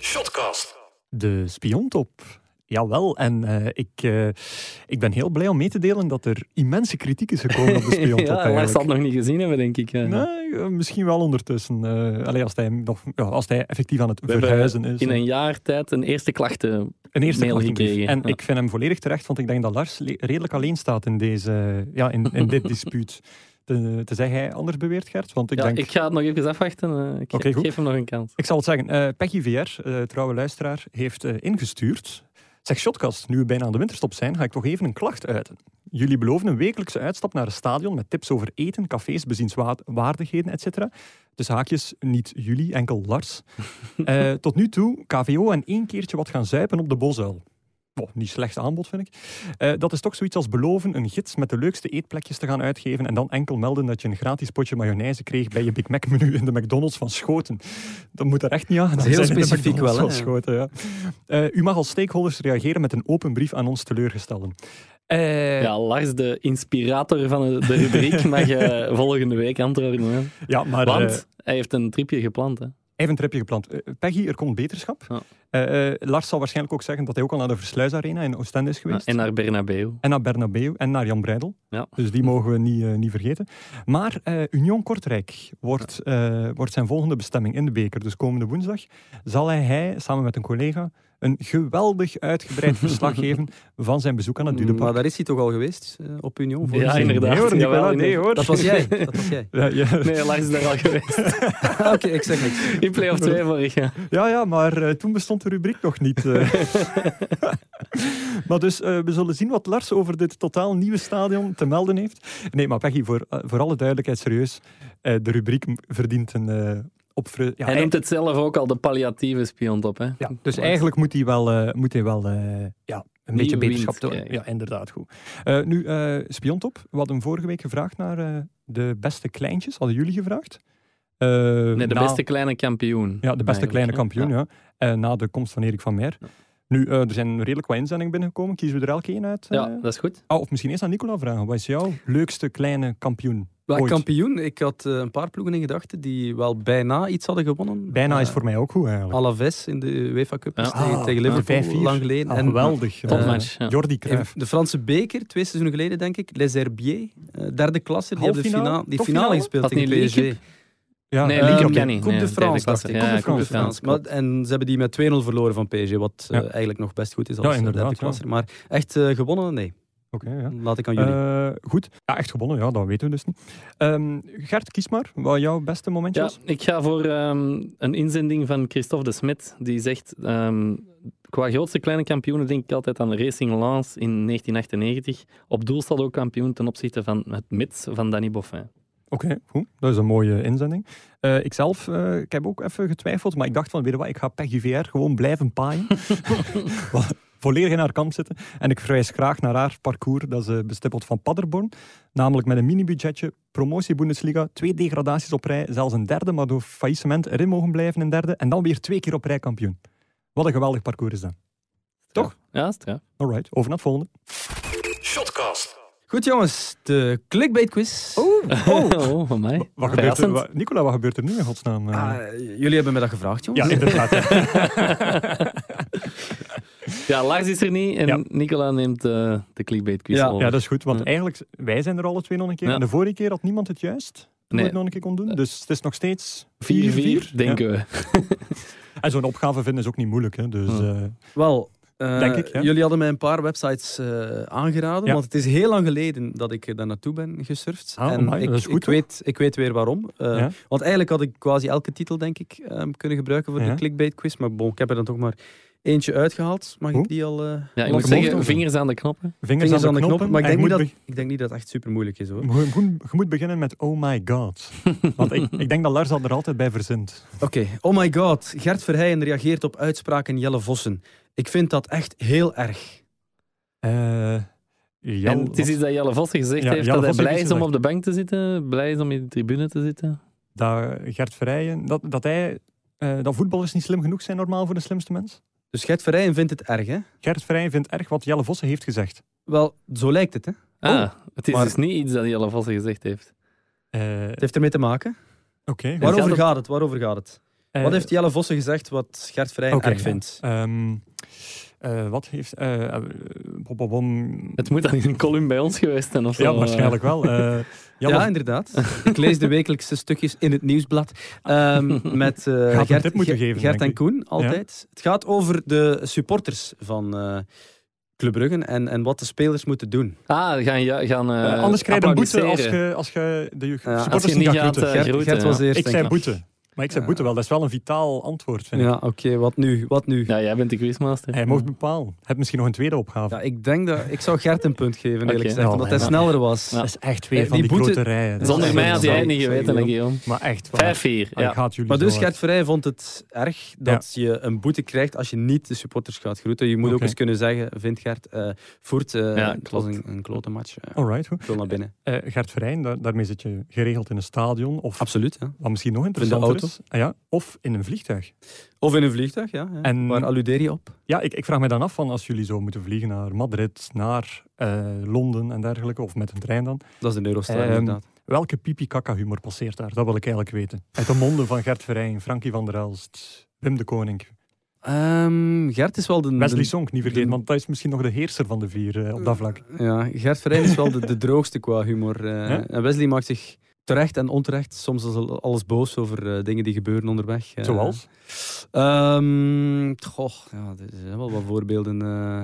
D: Shotcast.
A: De spiontop. Jawel, en eh, ik, eh, ik ben heel blij om mee te delen dat er immense kritiek is gekomen op
B: [LAUGHS]
A: de spiontop.
B: ja, Lars zal
A: eigenlijk.
B: het nog niet gezien hebben, denk ik. eh.
A: Nee, eh, misschien wel ondertussen. eh, allee, als, hij nog, ja, als hij effectief aan het
B: hebben
A: verhuizen is.
B: In een jaar tijd een eerste klachten.
A: Een eerste
B: mail
A: klachtenbrief.
B: gekregen,
A: En
B: ja.
A: ik vind hem volledig terecht, want ik denk dat Lars le- redelijk alleen staat in, deze, ja, in, in
B: [LAUGHS]
A: dit dispuut. Te, te zeggen hij anders beweert, Gert. Want ik
B: ja,
A: denk...
B: ik ga het nog even afwachten. eh, ik,
A: Oké,
B: ik
A: goed.
B: geef hem nog een kans.
A: Ik zal het zeggen. eh Peggy VR, eh, trouwe luisteraar, heeft eh, ingestuurd. Zeg, Shotcast, nu we bijna aan de winterstop zijn, ga ik toch even een klacht uiten. Jullie beloven een wekelijkse uitstap naar het stadion met tips over eten, cafés, bezienswaardigheden, etc. Dus haakjes, niet jullie, enkel Lars. [LAUGHS] Eh, tot nu toe, KVO en één keertje wat gaan zuipen op de Bosuil. Bon, niet slecht aanbod, vind ik. Eh, dat is toch zoiets als beloven een gids met de leukste eetplekjes te gaan uitgeven en dan enkel melden dat je een gratis potje mayonaise kreeg bij je Big Mac menu in de McDonald's van Schoten. Dat moet er echt niet aan.
C: is heel
A: zijn in de
C: specifiek wel,
A: McDonald's
C: hè?
A: van Schoten, ja. Eh, u mag als stakeholders reageren met een open brief aan ons teleurgestelden. Eh, ja.
B: Ja, Lars, de inspirator van de, de rubriek, mag je volgende week antwoorden. hè.
A: maar eh,
B: Want hij heeft een tripje gepland. Hè.
A: even een tripje gepland. Eh, Peggy, er komt beterschap.
B: Ja.
A: Eh, eh, Lars zal waarschijnlijk ook zeggen dat hij ook al naar de Versluisarena in Oostende is geweest.
B: Ah, En naar Bernabeu.
A: En naar Bernabeu en naar Jan Breidel.
B: Ja.
A: Dus die mogen we niet, eh, niet vergeten. Maar eh, Union Kortrijk wordt, eh, wordt zijn volgende bestemming in de beker. Dus komende woensdag zal hij, hij samen met een collega een geweldig
B: [LAUGHS]
A: uitgebreid verslag geven van zijn bezoek aan het
C: Maar
A: Dudepark.
C: daar is hij toch al geweest, eh, op Union? voor
B: Ja,
C: de-
B: inderdaad.
A: Nee hoor,
B: Jawel,
A: Nicola, nee
B: inderdaad.
A: hoor.
C: Dat was jij. Dat was
A: [LAUGHS]
C: jij. Ah,
A: Ja, ja.
B: Nee, Lars is daar al geweest.
C: Oké, ik zeg niks.
B: In play-off 2 vorig jaar. [LAUGHS]
A: ja, ja, maar eh, toen bestond de rubriek nog niet. eh. Maar dus, eh, we zullen zien wat Lars over dit totaal nieuwe stadion te melden heeft. Nee, maar Peggy, voor, eh, voor alle duidelijkheid, serieus. eh, de rubriek m- verdient een eh opfru- ja,
B: Hij noemt
A: eigenlijk-
B: het zelf ook al de palliatieve spion op, hè?
A: ja, dus eigenlijk moet hij wel, eh, moet hij wel eh, ja, een beetje
B: wint
A: beterschap tonen.
B: krijgen.
A: Ja, inderdaad, goed. Eh, nu, eh, Spiontop, we hadden vorige week gevraagd naar eh, de beste kleintjes. Hadden jullie gevraagd? Eh,
B: Nee, de
A: na-
B: beste kleine kampioen.
A: ja, de beste
B: eigenlijk,
A: kleine
B: hè?
A: kampioen, ja. Eh, na de komst van Erik van Meer. Nu, eh, er zijn redelijk wat inzendingen binnengekomen. Kiezen we er elk één uit? eh?
B: Ja, dat is goed.
A: Ah, of misschien eerst aan Nicola vragen. Wat is jouw leukste kleine kampioen?
C: Wel,
A: Ooit.
C: kampioen, ik had eh, een paar ploegen in gedachten die wel bijna iets hadden gewonnen.
A: Bijna
C: Eh,
A: is voor mij ook goed eigenlijk.
C: Alaves in de UEFA Cup
B: Ja.
C: dus tegen,
A: Ah,
C: tegen Liverpool,
A: ah, 5-4.
C: lang geleden.
A: Ah,
C: En
A: geweldig.
C: eh,
A: geweldig.
B: Topmatch, ja.
A: Jordi
C: in
A: Cruijff.
C: de Franse beker, twee seizoenen geleden denk ik, Les Herbiers, eh, derde klasse, die hebben de
A: Halffinale?
C: finale, die
A: Topfinale?
C: finale gespeeld
B: Had niet
C: tegen
B: League
C: PSG.
A: Ja,
B: nee,
A: eh,
B: Ligue
C: Ehm,
B: kan niet.
C: Coupe
B: Nee,
C: de
B: derde
C: France, dacht
B: klasse.
C: ik.
B: Ja,
C: Coupe de
B: ja, Coupe de
C: France.
B: France,
C: Maar-
B: klopt.
C: en ze hebben die met 2-0 verloren van PSG, wat eh,
A: Ja.
C: eigenlijk nog best goed is
A: Ja,
C: als ja,
A: inderdaad,
C: derde klasse. Maar echt eh, gewonnen, nee.
A: Oké, ja.
C: Laat ik aan jullie.
A: Eh, goed. Ja, echt gewonnen. Ja, dat weten we dus niet. Ehm, Gert, kies maar wat jouw beste momentje
B: Ja,
A: was.
B: ik ga voor ehm, een inzending van Christophe de Smet. Die zegt, ehm, qua grootste kleine kampioenen denk ik altijd aan Racing Lens in 1998. Op doel staat ook kampioen ten opzichte van het Mits van Danny Boffin.
A: Oké, goed. Dat is een mooie inzending. Eh ikzelf, eh, ik heb ook even getwijfeld, maar ik dacht van, weet je wat, ik ga Peggy VR gewoon blijven paaien. Wat- Volledig in haar kamp zitten. En ik verwijs graag naar haar parcours dat ze bestippelt van Paderborn. Namelijk met een mini-budgetje, promotie Bundesliga, twee degradaties op rij, zelfs een derde, maar door faillissement erin mogen blijven een derde. En dan weer twee keer op rij kampioen. Wat een geweldig parcours is dat. Toch?
B: Ja, straf.
A: Alright, over naar het volgende.
D: Shotcast.
C: Goed jongens, de clickbait quiz.
B: Oh, van mij.
A: Wat gebeurt er,
B: Verrassend.
A: wa- Nicola, wat gebeurt er nu in godsnaam? Eh,
C: Ah, jullie hebben me dat gevraagd, jongens.
A: ja, inderdaad. hè.
B: Ja, Lars is er niet en
A: Ja.
B: Nicola neemt eh, de clickbait quiz
C: Ja,
B: over.
A: Ja, dat is goed, want
B: Ja.
A: eigenlijk, wij zijn er alle twee nog een keer.
B: Ja.
A: En de vorige keer had niemand het juist. Toen
B: Nee. Eh.
A: we het nog een keer kon doen. Dus het is nog steeds
B: 4-4,
A: 4-4.
B: denken we.
A: Ja. En zo'n opgave vinden is ook niet moeilijk. Hè. Dus,
B: Ja.
A: eh,
C: Wel, eh,
A: Denk ik, ja.
C: jullie hadden mij een paar websites eh, aangeraden,
A: Ja.
C: want het is heel lang geleden dat ik eh, daar naartoe ben gesurfd.
A: Ah,
C: en
A: amai,
C: ik,
A: dat is goed,
C: ik,
A: toch?
C: weet, ik weet weer waarom. Eh,
A: Ja.
C: Want eigenlijk had ik quasi elke titel, denk ik, ehm, kunnen gebruiken voor
A: Ja.
C: de clickbait quiz. Maar bon, ik heb er dan toch maar eentje uitgehaald. Mag
A: Hoe?
C: ik die al... eh,
B: Ja, ik
A: Laat
B: moet
A: hem
B: zeggen,
A: over.
B: vingers aan de knoppen.
A: vingers,
C: vingers aan de knoppen? Maar ik
A: En je
C: denk, niet
A: moet Mm.
C: dat, ik denk niet dat het echt super moeilijk is, hoor.
A: be- [LAUGHS] je moet- je moet beginnen met Oh my
B: [LAUGHS]
A: god. Want ik, ik denk dat Lars dat er altijd bij verzint.
C: Oké, oh my god. Gert Verheyen reageert op uitspraken Jelle Vossen. Ik vind dat echt heel erg.
A: Eh Jel-
B: en het is iets dat Jelle Vossen gezegd
A: Ja,
B: heeft,
A: Jelle
B: dat hij
A: Vossen
B: blij
A: heeft
B: is om
A: gezegd.
B: op de bank te zitten, blij is om in de tribune te zitten.
A: dat Gert Verrijen, dat, dat hij... eh, dat voetballers niet slim genoeg zijn normaal voor de slimste mens.
C: Dus Gert Verheyen vindt het erg, hè?
A: Gert Verrijen vindt erg wat Jelle Vossen heeft gezegd.
C: Wel, zo lijkt het, hè?
A: Oh,
B: Ah, het is
C: maar-
B: dus niet iets dat Jelle Vossen gezegd heeft.
A: Eh,
C: Het heeft ermee te maken.
A: Oké. goed.
B: Waarom?
C: Waarover
B: Gert-
C: gaat het? Waarover gaat het?
A: Eh,
C: Wat heeft Jelle Vossen gezegd wat Gert Verheyen
A: Oké,
C: erg
A: ja.
C: vindt?
A: ehm, eh, wat heeft... eh, eh, bom, bom, bom.
B: Het moet dan in een column bij ons geweest zijn of zo.
A: ja, waarschijnlijk wel. Eh, Jelle,
C: Ja, inderdaad. [LAUGHS] ik lees de wekelijkse stukjes in het nieuwsblad [LAUGHS] ehm, met eh,
A: een
C: Gert,
A: tip moeten
C: Ge-
A: geven,
C: Gert
A: denk
C: en
A: ik.
C: Koen, altijd. Het gaat over de supporters van eh Club Brugge en, en wat de spelers moeten doen.
B: Ah, gaan... Ja, gaan eh,
A: Eh, anders krijg je een boete als
B: applaudisseren.
A: je, als je de jeugd-
C: Ja, als
A: supporters
B: je niet gaat,
A: groeten.
B: eh,
C: Gert,
B: groeten,
C: Gert was
B: ja.
C: eerst,
A: Ik
C: denk
A: zei boete. Maar ik zei
C: Ja.
A: boete wel. Dat is wel een vitaal antwoord, vind ik.
C: Ja, oké, wat nu? Wat nu?
B: Ja, jij bent de quizmaster.
A: Hij mocht bepalen. Je hebt misschien nog een tweede opgave.
C: Ja, ik denk dat ik zou Gert een punt geven, eerlijk
B: Oké.
C: gezegd, omdat hij
B: Ja.
C: sneller was.
B: Ja.
A: Dat is echt weer
C: Eh,
A: van die,
C: die boete-
A: grote rijen. Dat
B: Zonder
A: is
B: mij
A: echt
B: had jij het
A: wel-
B: niet
C: Sorry,
B: geweten, hè,
C: Guillaume.
B: Guillaume.
A: Maar echt waar.
B: 5-4,
A: Ah, Ik
B: ja.
A: haat jullie
C: Maar dus
A: zo
C: Gert
A: hard.
C: Verheij vond het erg dat je een boete krijgt als je niet de supporters gaat groeten. Je moet ook
A: Oké.
C: eens kunnen zeggen, vindt Gert, eh voert, eh,
B: Ja,
C: het was
B: klopt.
C: een, een klote match. eh,
A: Alright, goed.
C: ik wil naar binnen.
A: Eh, Gert Verijn, daar- daarmee zit je geregeld in een stadion. Of
C: Absoluut, ja.
A: wat misschien nog
C: de
A: interessanter is. ah ja, of in een vliegtuig.
C: Of in een vliegtuig, ja. ja.
A: En-
C: Waar alludeer je op?
A: Ja, ik, ik vraag me dan af van als jullie zo moeten vliegen naar Madrid, naar eh, Londen en dergelijke. Of met een trein dan.
C: Dat is de Eurostar,
A: Ehm,
C: inderdaad.
A: Welke pipi-kaka-humor passeert daar? Dat wil ik eigenlijk weten. Uit de monden van Gert Verijn, Frankie van der Elst, Wim de Koning.
C: Ehm, Gert is wel de...
A: Wesley
C: Mm, de-
A: Sonk, niet vergeten, want dat is misschien nog de heerser van de vier eh, op dat vlak.
C: Ja, Gert Verheij is wel de, de droogste qua humor. eh.
A: Ja?
C: En Wesley maakt zich terecht en onterecht soms al- alles boos over eh, dingen die gebeuren onderweg. eh.
A: Zoals?
C: Ehm, goh, ja, er zijn wel wat voorbeelden. eh.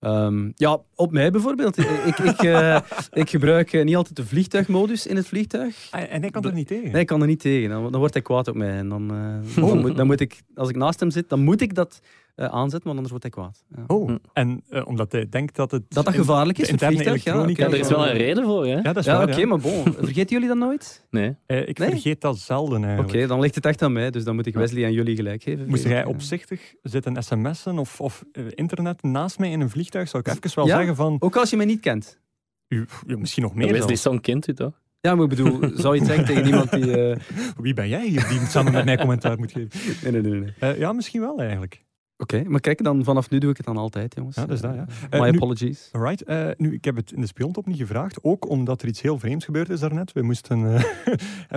C: Ehm, ja, op mij bijvoorbeeld. ik, ik,
A: [LAUGHS]
C: ik, eh, ik gebruik eh, niet altijd de vliegtuigmodus in het vliegtuig.
A: En, en hij kan er niet tegen.
C: Nee, ik kan er niet tegen. Dan, dan wordt hij kwaad op mij. En dan,
A: [LAUGHS]
C: eh,
A: Oh.
C: dan, moet, dan moet ik, als ik naast hem zit, dan moet ik dat eh, aanzet, want anders wordt hij kwaad. Ja.
A: Oh,
B: Hm.
A: en eh, omdat hij denkt dat het...
C: Mm. Dat dat gevaarlijk is,
A: de
C: het
A: interne
C: vliegtuig, ja.
A: elektronica
B: Ja, er is wel een
C: Ja,
B: reden voor, hè?
A: Ja, dat is
C: Ja,
A: waar,
C: oké,
A: ja.
C: maar bon.
A: [LAUGHS]
C: Vergeten jullie dat nooit?
B: Nee.
A: Eh, ik
C: Nee.
A: vergeet dat zelden
C: Oké,
A: eigenlijk.
C: dan ligt het echt aan mij, dus dan moet ik Wesley en jullie gelijk geven.
A: Moest jij
C: Ja.
A: opzichtig zitten sms'en of, of eh, internet naast mij in een vliegtuig, zou ik even wel
C: Ja?
A: zeggen van...
C: Ook als je mij niet kent.
A: U, ja, misschien nog meer
B: Wesley die
A: zelfs.
B: Song kent u toch?
C: Ja, maar ik bedoel, zou je het zeggen
A: [LAUGHS]
C: tegen iemand die... eh,
A: Wie ben jij hier die samen met mij commentaar moet geven?
C: Nee, nee, nee. nee. Oké,
A: Eh, ja, misschien wel eigenlijk.
C: maar kijk, dan vanaf nu doe ik het dan altijd, jongens.
A: Ja, dat is dat, ja.
C: Eh,
A: Eh,
C: My
A: nu-
C: apologies.
A: Alright, eh, nu, ik heb het in de spiontop niet gevraagd, ook omdat er iets heel vreemds gebeurd is daarnet. We moesten eh, [LAUGHS]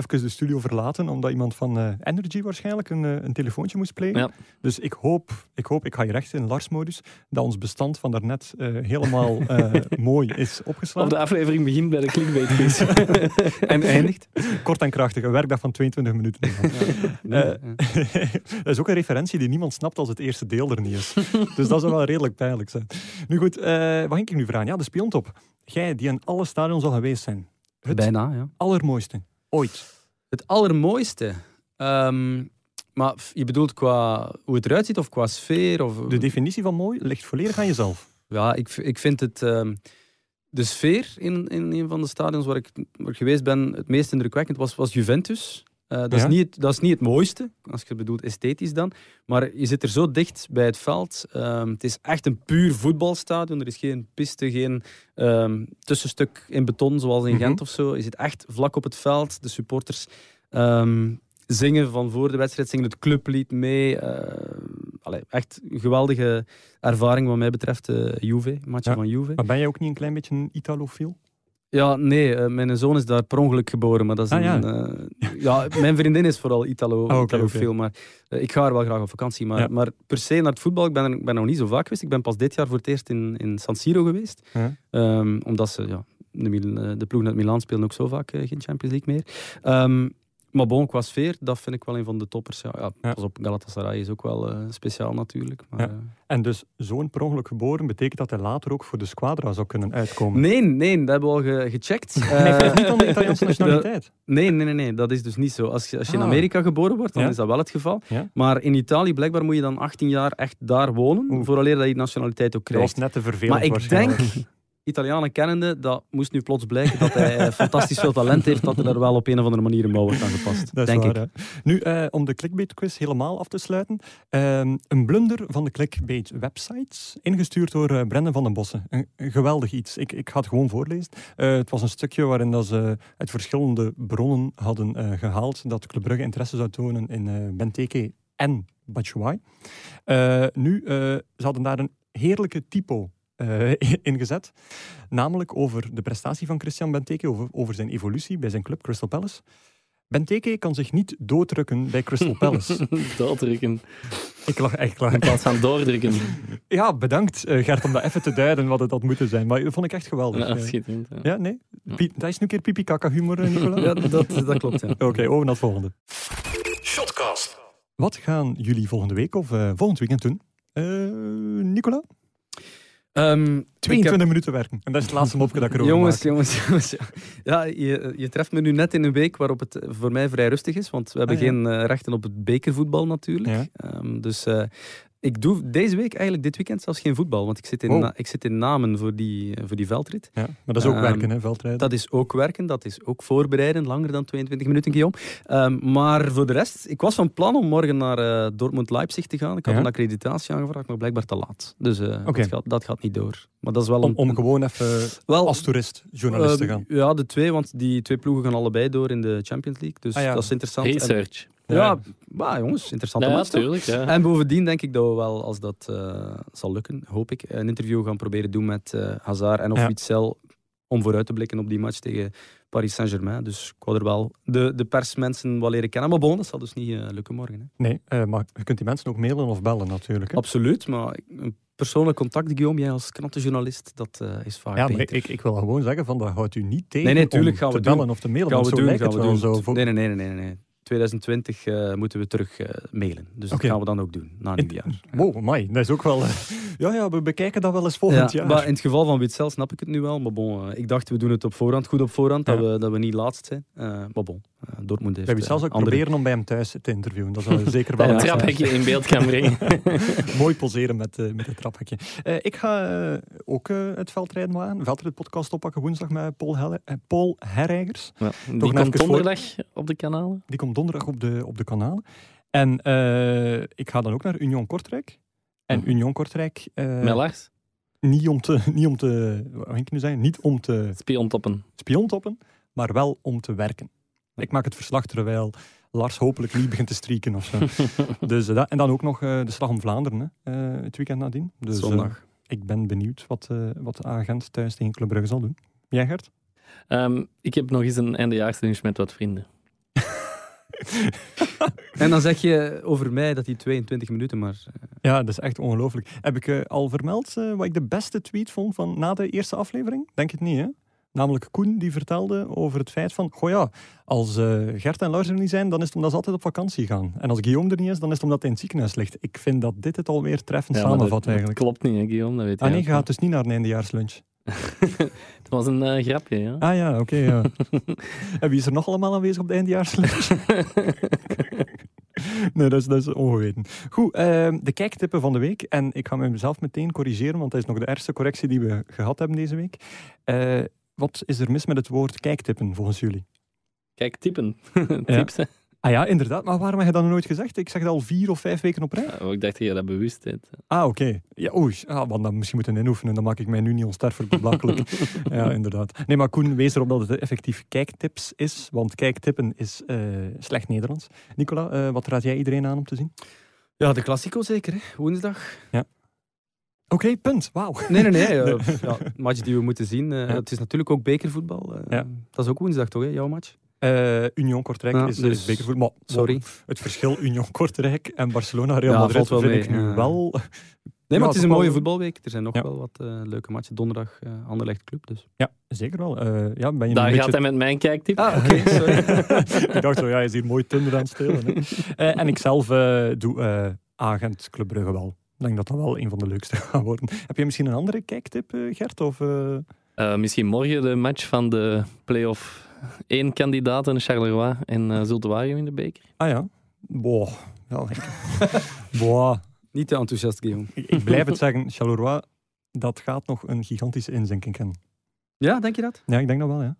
A: even de studio verlaten, omdat iemand van eh, Energy waarschijnlijk een, eh, een telefoontje moest plegen.
B: Ja.
A: Dus ik hoop, ik hoop, ik ga je recht in Lars-modus, dat ons bestand van daarnet eh, helemaal eh, [LAUGHS] mooi is
B: Of
A: opgeslagen.
B: de aflevering begint bij de clickbait
A: [LAUGHS]
B: quiz.
C: [LAUGHS] En eindigt.
A: Kort en krachtig, een werkdag van 22 minuten.
C: Ja.
A: [LAUGHS] dat is ook een referentie die niemand snapt als het eerste deel er niet
C: [LAUGHS]
A: is. dus dat zou wel redelijk pijnlijk zijn. Nu goed, eh, wat ging ik nu vragen? Ja, de spiontop. Jij die in alle stadions al geweest zijn. Het
C: Bijna, ja.
A: allermooiste ooit.
C: Het allermooiste. Ehm, maar f- je bedoelt qua hoe het eruit ziet of qua sfeer? Of,
A: De definitie van mooi ligt volledig aan jezelf.
C: ja, ik, v- ik vind het, ehm, de sfeer in, in een van de stadions waar ik, waar ik geweest ben het meest indrukwekkend was, was Juventus. Eh, dat,
A: Ja.
C: is niet, het- dat is niet het mooiste, als je bedoelt esthetisch dan. Maar je zit er zo dicht bij het veld. Ehm, het is echt een puur voetbalstadion. Er is geen piste, geen ehm, tussenstuk in beton zoals in
A: Mhm.
C: Gent of zo. Je zit echt vlak op het veld. De supporters ehm, zingen van voor de wedstrijd, zingen het clublied mee. Eh, allee, echt een geweldige ervaring wat mij betreft. eh, Juve, matchen
A: Ja.
C: van Juve.
A: Maar ben jij ook niet een klein beetje een Italofiel?
C: Ja, nee, eh, mijn zoon is daar per ongeluk geboren, maar dat is
A: Ah, ja. Ah,
C: een... eh, ja, mijn vriendin is vooral Italo,
A: oké,
C: Italofiel, maar eh, ik ga haar wel graag op vakantie. Maar,
A: Ja.
C: maar per se naar het voetbal, ik ben, er, ik ben nog niet zo vaak geweest. Ik ben pas dit jaar voor het eerst in, in San Siro geweest.
A: Ja.
C: Ehm, omdat ze, ja, de, Mil- eh, de ploegen uit Milaan spelen ook zo vaak eh, geen Champions League meer. Ehm, maar bon, qua sfeer, dat vind ik wel een van de toppers. Ja, ja,
A: Ja.
C: Pas op, Galatasaray is ook wel eh, speciaal natuurlijk. Maar,
A: Ja.
C: eh,
A: En dus zo'n per ongeluk geboren betekent dat hij later ook voor de squadra zou kunnen uitkomen.
C: Nee, nee, dat hebben we al ge-
A: [LAUGHS]
C: gecheckt.
A: Nee,
C: Eh,
A: hij heeft niet aan de
C: [LAUGHS]
A: Italiaanse nationaliteit.
C: Nee, nee, nee, nee, dat is dus niet zo. Als je, als je in
A: Ah.
C: Amerika geboren wordt, dan
A: Ja.
C: is dat wel het geval.
A: Ja.
C: Maar in Italië, blijkbaar, moet je dan 18 jaar echt daar wonen,
A: Oeh.
C: vooraleer dat je nationaliteit ook
A: Dat was
C: krijgt.
A: net te vervelend
C: Maar ik denk,
A: waarschijnlijk.
C: Italianen kennende, dat moest nu plots blijken dat hij [LAUGHS] eh, fantastisch veel talent heeft, dat hij er wel op een of andere manier een mouw wordt aangepast.
A: Dat is
C: denk
A: waar,
C: ik.
A: hè. Nu, eh, om de clickbait quiz helemaal af te sluiten. ehm, een blunder van de clickbait websites, ingestuurd door eh Brendan van den Bossen. Een, een geweldig iets. Ik, ik ga het gewoon voorlezen. Eh, het was een stukje waarin dat ze uit verschillende bronnen hadden eh, gehaald dat Club Brugge interesse zou tonen in eh Benteke en Batshuayi. Eh, nu, eh, ze hadden daar een heerlijke typo eh, [LAUGHS] in gezet. Namelijk over de prestatie van Christian Benteke, over, over zijn evolutie bij zijn club Crystal Palace. Benteke kan zich niet doodrukken bij
C: [LAUGHS]
A: Crystal Palace.
B: [LAUGHS] Doordrukken.
A: ik lach echt
B: In
A: klaar. [LAUGHS]
B: plaats van doordrukken.
A: Ja, bedankt eh, Gert om dat even te duiden wat het had moeten zijn. Maar dat vond ik echt geweldig.
B: Ja,
A: Eh,
B: schitterend. ja.
A: ja, nee? Pi- dat is nu een keer pipi-kaka humor, eh, Nicola.
C: Ja, dat, dat klopt, ja.
A: Oké, over naar het volgende.
D: Shotcast.
A: Wat gaan jullie volgende week of eh, volgend weekend doen? Eh, Nicola?
C: Ehm, ik heb-
A: 22 minuten werken. En dat is het laatste mopje dat ik erover
C: Jongens,
A: maak.
C: jongens, [LAUGHS] jongens. ja. Ja, je, je treft me nu net in een week waarop het eh, voor mij vrij rustig is, want we hebben
A: Ah, ja.
C: geen eh, rechten op het bekervoetbal natuurlijk. Ehm, dus eh, ik doe deze week, eigenlijk dit weekend, zelfs geen voetbal. Want ik zit in,
A: Oh.
C: Na- ik zit in Namen voor die, eh, voor die veldrit.
A: Ja, maar dat is ook
C: Ehm,
A: werken, hè, veldrijden.
C: Dat is ook werken, dat is ook voorbereiden. Langer dan 22 minuten, Guillaume. Ehm, maar voor de rest, ik was van plan om morgen naar eh, Dortmund-Leipzig te gaan. Ik had
A: Ja.
C: een accreditatie aangevraagd, maar blijkbaar te laat. Dus eh,
A: Oké.
C: dat, gaat, dat gaat niet door. Maar dat is wel
A: Om,
C: een-
A: om
C: een-
A: gewoon even
C: wel,
A: als toerist journalist te
C: ehm,
A: gaan.
C: Ja, de twee, want die twee ploegen gaan allebei door in de Champions League. Dus
A: Ah, ja.
C: dat is interessant. En-
B: Research.
A: Ja.
C: ja, maar jongens, interessante
B: Ja,
C: match toch?
B: natuurlijk.
A: Eh,
B: Ja.
C: En bovendien denk ik dat we wel, als dat eh, zal lukken, hoop ik, een interview gaan proberen doen met eh, Hazard en of
A: Ja.
C: Witzel om vooruit te blikken op die match tegen Paris Saint-Germain. Dus ik wou er wel de, de persmensen wel leren kennen. Maar bon, dat zal dus niet eh, lukken morgen. Hè.
A: Nee, eh, maar je kunt die mensen ook mailen of bellen natuurlijk. hè.
C: Absoluut, maar ik- een persoonlijk contact, Guillaume, jij als krantenjournalist, dat eh, is vaak
A: Ja, maar
C: beter.
A: ik, ik, ik wil gewoon zeggen van, dat houdt u niet tegen
C: nee, tuurlijk
A: om
C: gaan we
A: te
C: doen.
A: bellen of te mailen.
C: gaan
A: want
C: we
A: zo
C: doen,
A: lijkt
C: gaan
A: het
C: we
A: wel
C: doen.
A: zo. voor-
C: Nee, nee, nee, nee, nee. nee. 2020 eh, moeten we terug eh, mailen. Dus
A: Oké.
C: dat gaan we dan ook doen, na
A: In-
C: nieuwjaar.
A: Wow, amai, dat is ook wel... eh, [LAUGHS] ja, ja, we bekijken dat wel eens volgend
C: ja,
A: jaar.
C: Maar in het geval van Witzel snap ik het nu wel. Maar bon, eh, ik dacht we doen het op voorhand, goed op voorhand,
A: Ja.
C: dat, we, dat we niet laatst zijn. Eh maar bon, eh, Dortmund heeft.
A: We hebben
C: eh,
A: zelfs ook
C: andere-
A: proberen om bij hem thuis te interviewen. Dat
C: [LAUGHS]
A: zal zeker wel
B: Dat een
A: een
B: traphekje in beeld kan
A: [LAUGHS]
B: brengen.
A: Mooi poseren met, eh met het traphekje. Eh, ik ga eh, ook eh, het veldrijden wel aan. Veldrijd podcast oppakken woensdag met Paul, Helle, eh, Paul Herreigers.
B: die
A: nog
B: komt
A: even voor-
B: donderdag op de kanalen.
A: Die komt donderdag op de, op de kanalen. En eh, ik ga dan ook naar Union Kortrijk. En
B: Mhm.
A: Union Kortrijk, eh,
B: Met Lars.
A: niet om te, niet om te, wat wil ik nu zeggen, niet om te
B: Spiontoppen.
A: [LAUGHS] spiontoppen, maar wel om te werken. Ik maak het verslag terwijl Lars hopelijk niet begint te strieken of zo. dus, eh, dat, en dan ook nog eh, de Slag om Vlaanderen, hè, eh, het weekend nadien. Dus, eh,
C: zondag.
A: ik ben benieuwd wat, eh, wat de agent thuis tegen Club Brugge zal doen. Jij, Gert?
B: Ehm, ik heb nog eens een eindejaarsdinch met wat vrienden.
C: En dan zeg je over mij dat die 22 minuten maar... eh,
A: Ja, dat is echt ongelooflijk. Heb ik eh, al vermeld eh, wat ik de beste tweet vond van na de eerste aflevering? Denk het niet, hè? Namelijk Koen, die vertelde over het feit van... Goh ja, als eh, Gert en Lars er niet zijn, dan is het omdat ze altijd op vakantie gaan. En als Guillaume er niet is, dan is het omdat hij in het ziekenhuis ligt. Ik vind dat dit het alweer treffend
B: maar dat-
A: samenvat,
B: dat
A: eigenlijk.
B: klopt niet, hè, Guillaume. Dat weet
A: Ah
B: jij
A: nee,
B: ook
A: je gaat dus niet naar een eindejaarslunch.
B: niet. Het was een eh, grapje, ja.
A: Ah ja, oké, ja. [LAUGHS] en wie is er nog allemaal aanwezig op de eindejaarslunch? [LAUGHS] nee, dat is, dat is ongeweten. Goed, ehm, de kijktippen van de week. En ik ga mezelf meteen corrigeren, want dat is nog de ergste correctie die we gehad hebben deze week. Eh, wat is er mis met het woord kijktippen, volgens jullie?
B: Kijk, typen. [LAUGHS]
A: Ja.
B: Tips, hè.
A: Ah ja, inderdaad. Maar waarom heb je dat nog nooit gezegd? Ik zeg dat al vier of vijf weken op rij.
B: Ah, ik dacht dat je dat bewust deed.
A: Ah, oké. Ja, oei. Ah, want dan misschien moeten inoefenen. Dan maak ik mij nu niet onsterfelijk
C: [LAUGHS]
A: belachelijk. ja, inderdaad. Nee, maar Koen, wees erop dat het effectief kijktips is. Want kijktippen is eh, slecht Nederlands. Nicola, eh, wat raad jij iedereen aan om te zien?
C: Ja, de Classico zeker, hè? woensdag.
A: Oké, punt. Wauw.
C: Nee, nee, [LAUGHS] nee. eh, pff, ja, match die we moeten zien. eh,
A: Ja.
C: Het is natuurlijk ook bekervoetbal. eh,
A: Ja.
C: Dat is ook woensdag toch, hè? jouw match?
A: Eh, Union Kortrijk
C: Ja,
A: is,
C: dus-
A: is bekervoer. Maar
C: Sorry.
A: het verschil
C: [LAUGHS]
A: Union Kortrijk en Barcelona Real
C: Ja,
A: Madrid
C: valt wel
A: vind
C: mee,
A: ik nu
C: ja.
A: wel...
C: Nee, maar het is een
A: toch
C: mooie
A: wel-
C: voetbalweek. Er zijn nog
A: Ja.
C: wel wat eh, leuke matchen. Donderdag eh Anderlecht Club. Dus.
A: Ja, zeker wel. Eh, ja, ben je
B: Daar
A: een
B: gaat
A: beetje...
B: hij met mijn kijktip.
C: Ah,
A: [LAUGHS]
C: oké, sorry.
A: ik dacht zo, ja, hij is hier mooi Tinder aan het spelen. hè. Eh, en ik zelf eh, doe eh, agent Club Brugge wel. Ik denk dat dat wel een van de leukste [LAUGHS] gaat worden. Heb je misschien een andere kijktip, eh, Gert? Of, eh,
B: Eh, misschien morgen de match van de play-off 1 kandidaten, Charleroi en eh Zulte Waregem in de beker.
A: Ah ja. Boah. Wel,
C: [LAUGHS]
A: ik... Boah.
C: Niet te enthousiast, Guillaume.
A: Ik, ik blijf het zeggen, Charleroi, dat gaat nog een gigantische inzinking hebben.
C: Ja, denk je dat?
A: Ja, ik denk dat wel, ja.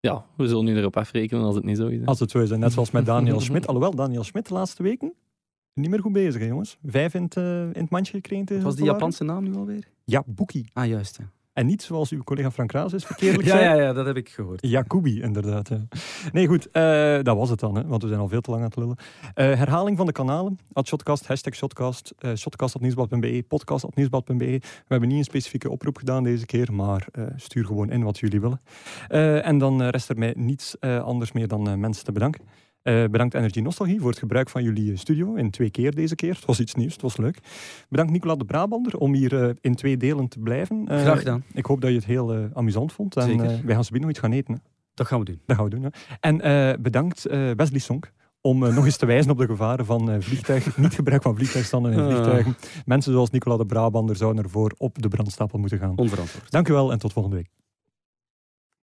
B: Ja, we zullen nu erop afrekenen als het niet zo is. hè.
A: Als het zo is, hè. net zoals met Daniel Schmidt. Alhoewel, Daniel Schmidt de laatste weken niet meer goed bezig, hè, jongens. Vijf in het, eh, in het mandje gekregen. tegen
C: Wat was die
A: Zulte
C: Japanse naam nu alweer?
A: Waregem. Jabuki.
C: Ah, juist. Ja,
A: En niet zoals uw collega Frank Raas is verkeerlijk
C: [LAUGHS] ja,
A: zei.
C: ja, ja, dat heb ik gehoord.
A: Jacobi, inderdaad. ja. Nee, goed, eh, dat was het dan, hè, want we zijn al veel te lang aan het lullen. Eh, herhaling van de kanalen, at Shotcast, hashtag Shotcast, eh shotcast.nieuwsblad.be, podcast.nieuwsblad.be. We hebben niet een specifieke oproep gedaan deze keer, maar eh, stuur gewoon in wat jullie willen. Eh, en dan eh, rest er mij niets eh, anders meer dan eh, mensen te bedanken. Eh, bedankt Energy Nostalgie voor het gebruik van jullie eh, studio in twee keer deze keer. Het was iets nieuws, het was leuk. Bedankt Nicola de Brabander om hier eh, in twee delen te blijven. Eh,
C: Graag gedaan.
A: ik hoop dat je het heel eh, amusant vond. En
C: Zeker.
A: eh, wij gaan zo nog iets gaan eten. hè.
C: Dat gaan we doen.
A: Dat gaan we doen. Hè. En eh, bedankt eh, Wesley Sonk om eh, nog eens te wijzen op de gevaren van eh
C: [LAUGHS]
A: vliegtuig, niet gebruik van vliegtuigstanden in
C: Ah.
A: vliegtuigen. Mensen zoals Nicola de Brabander zouden ervoor op de brandstapel moeten gaan.
C: Onverantwoord.
A: Dank u wel en tot volgende week.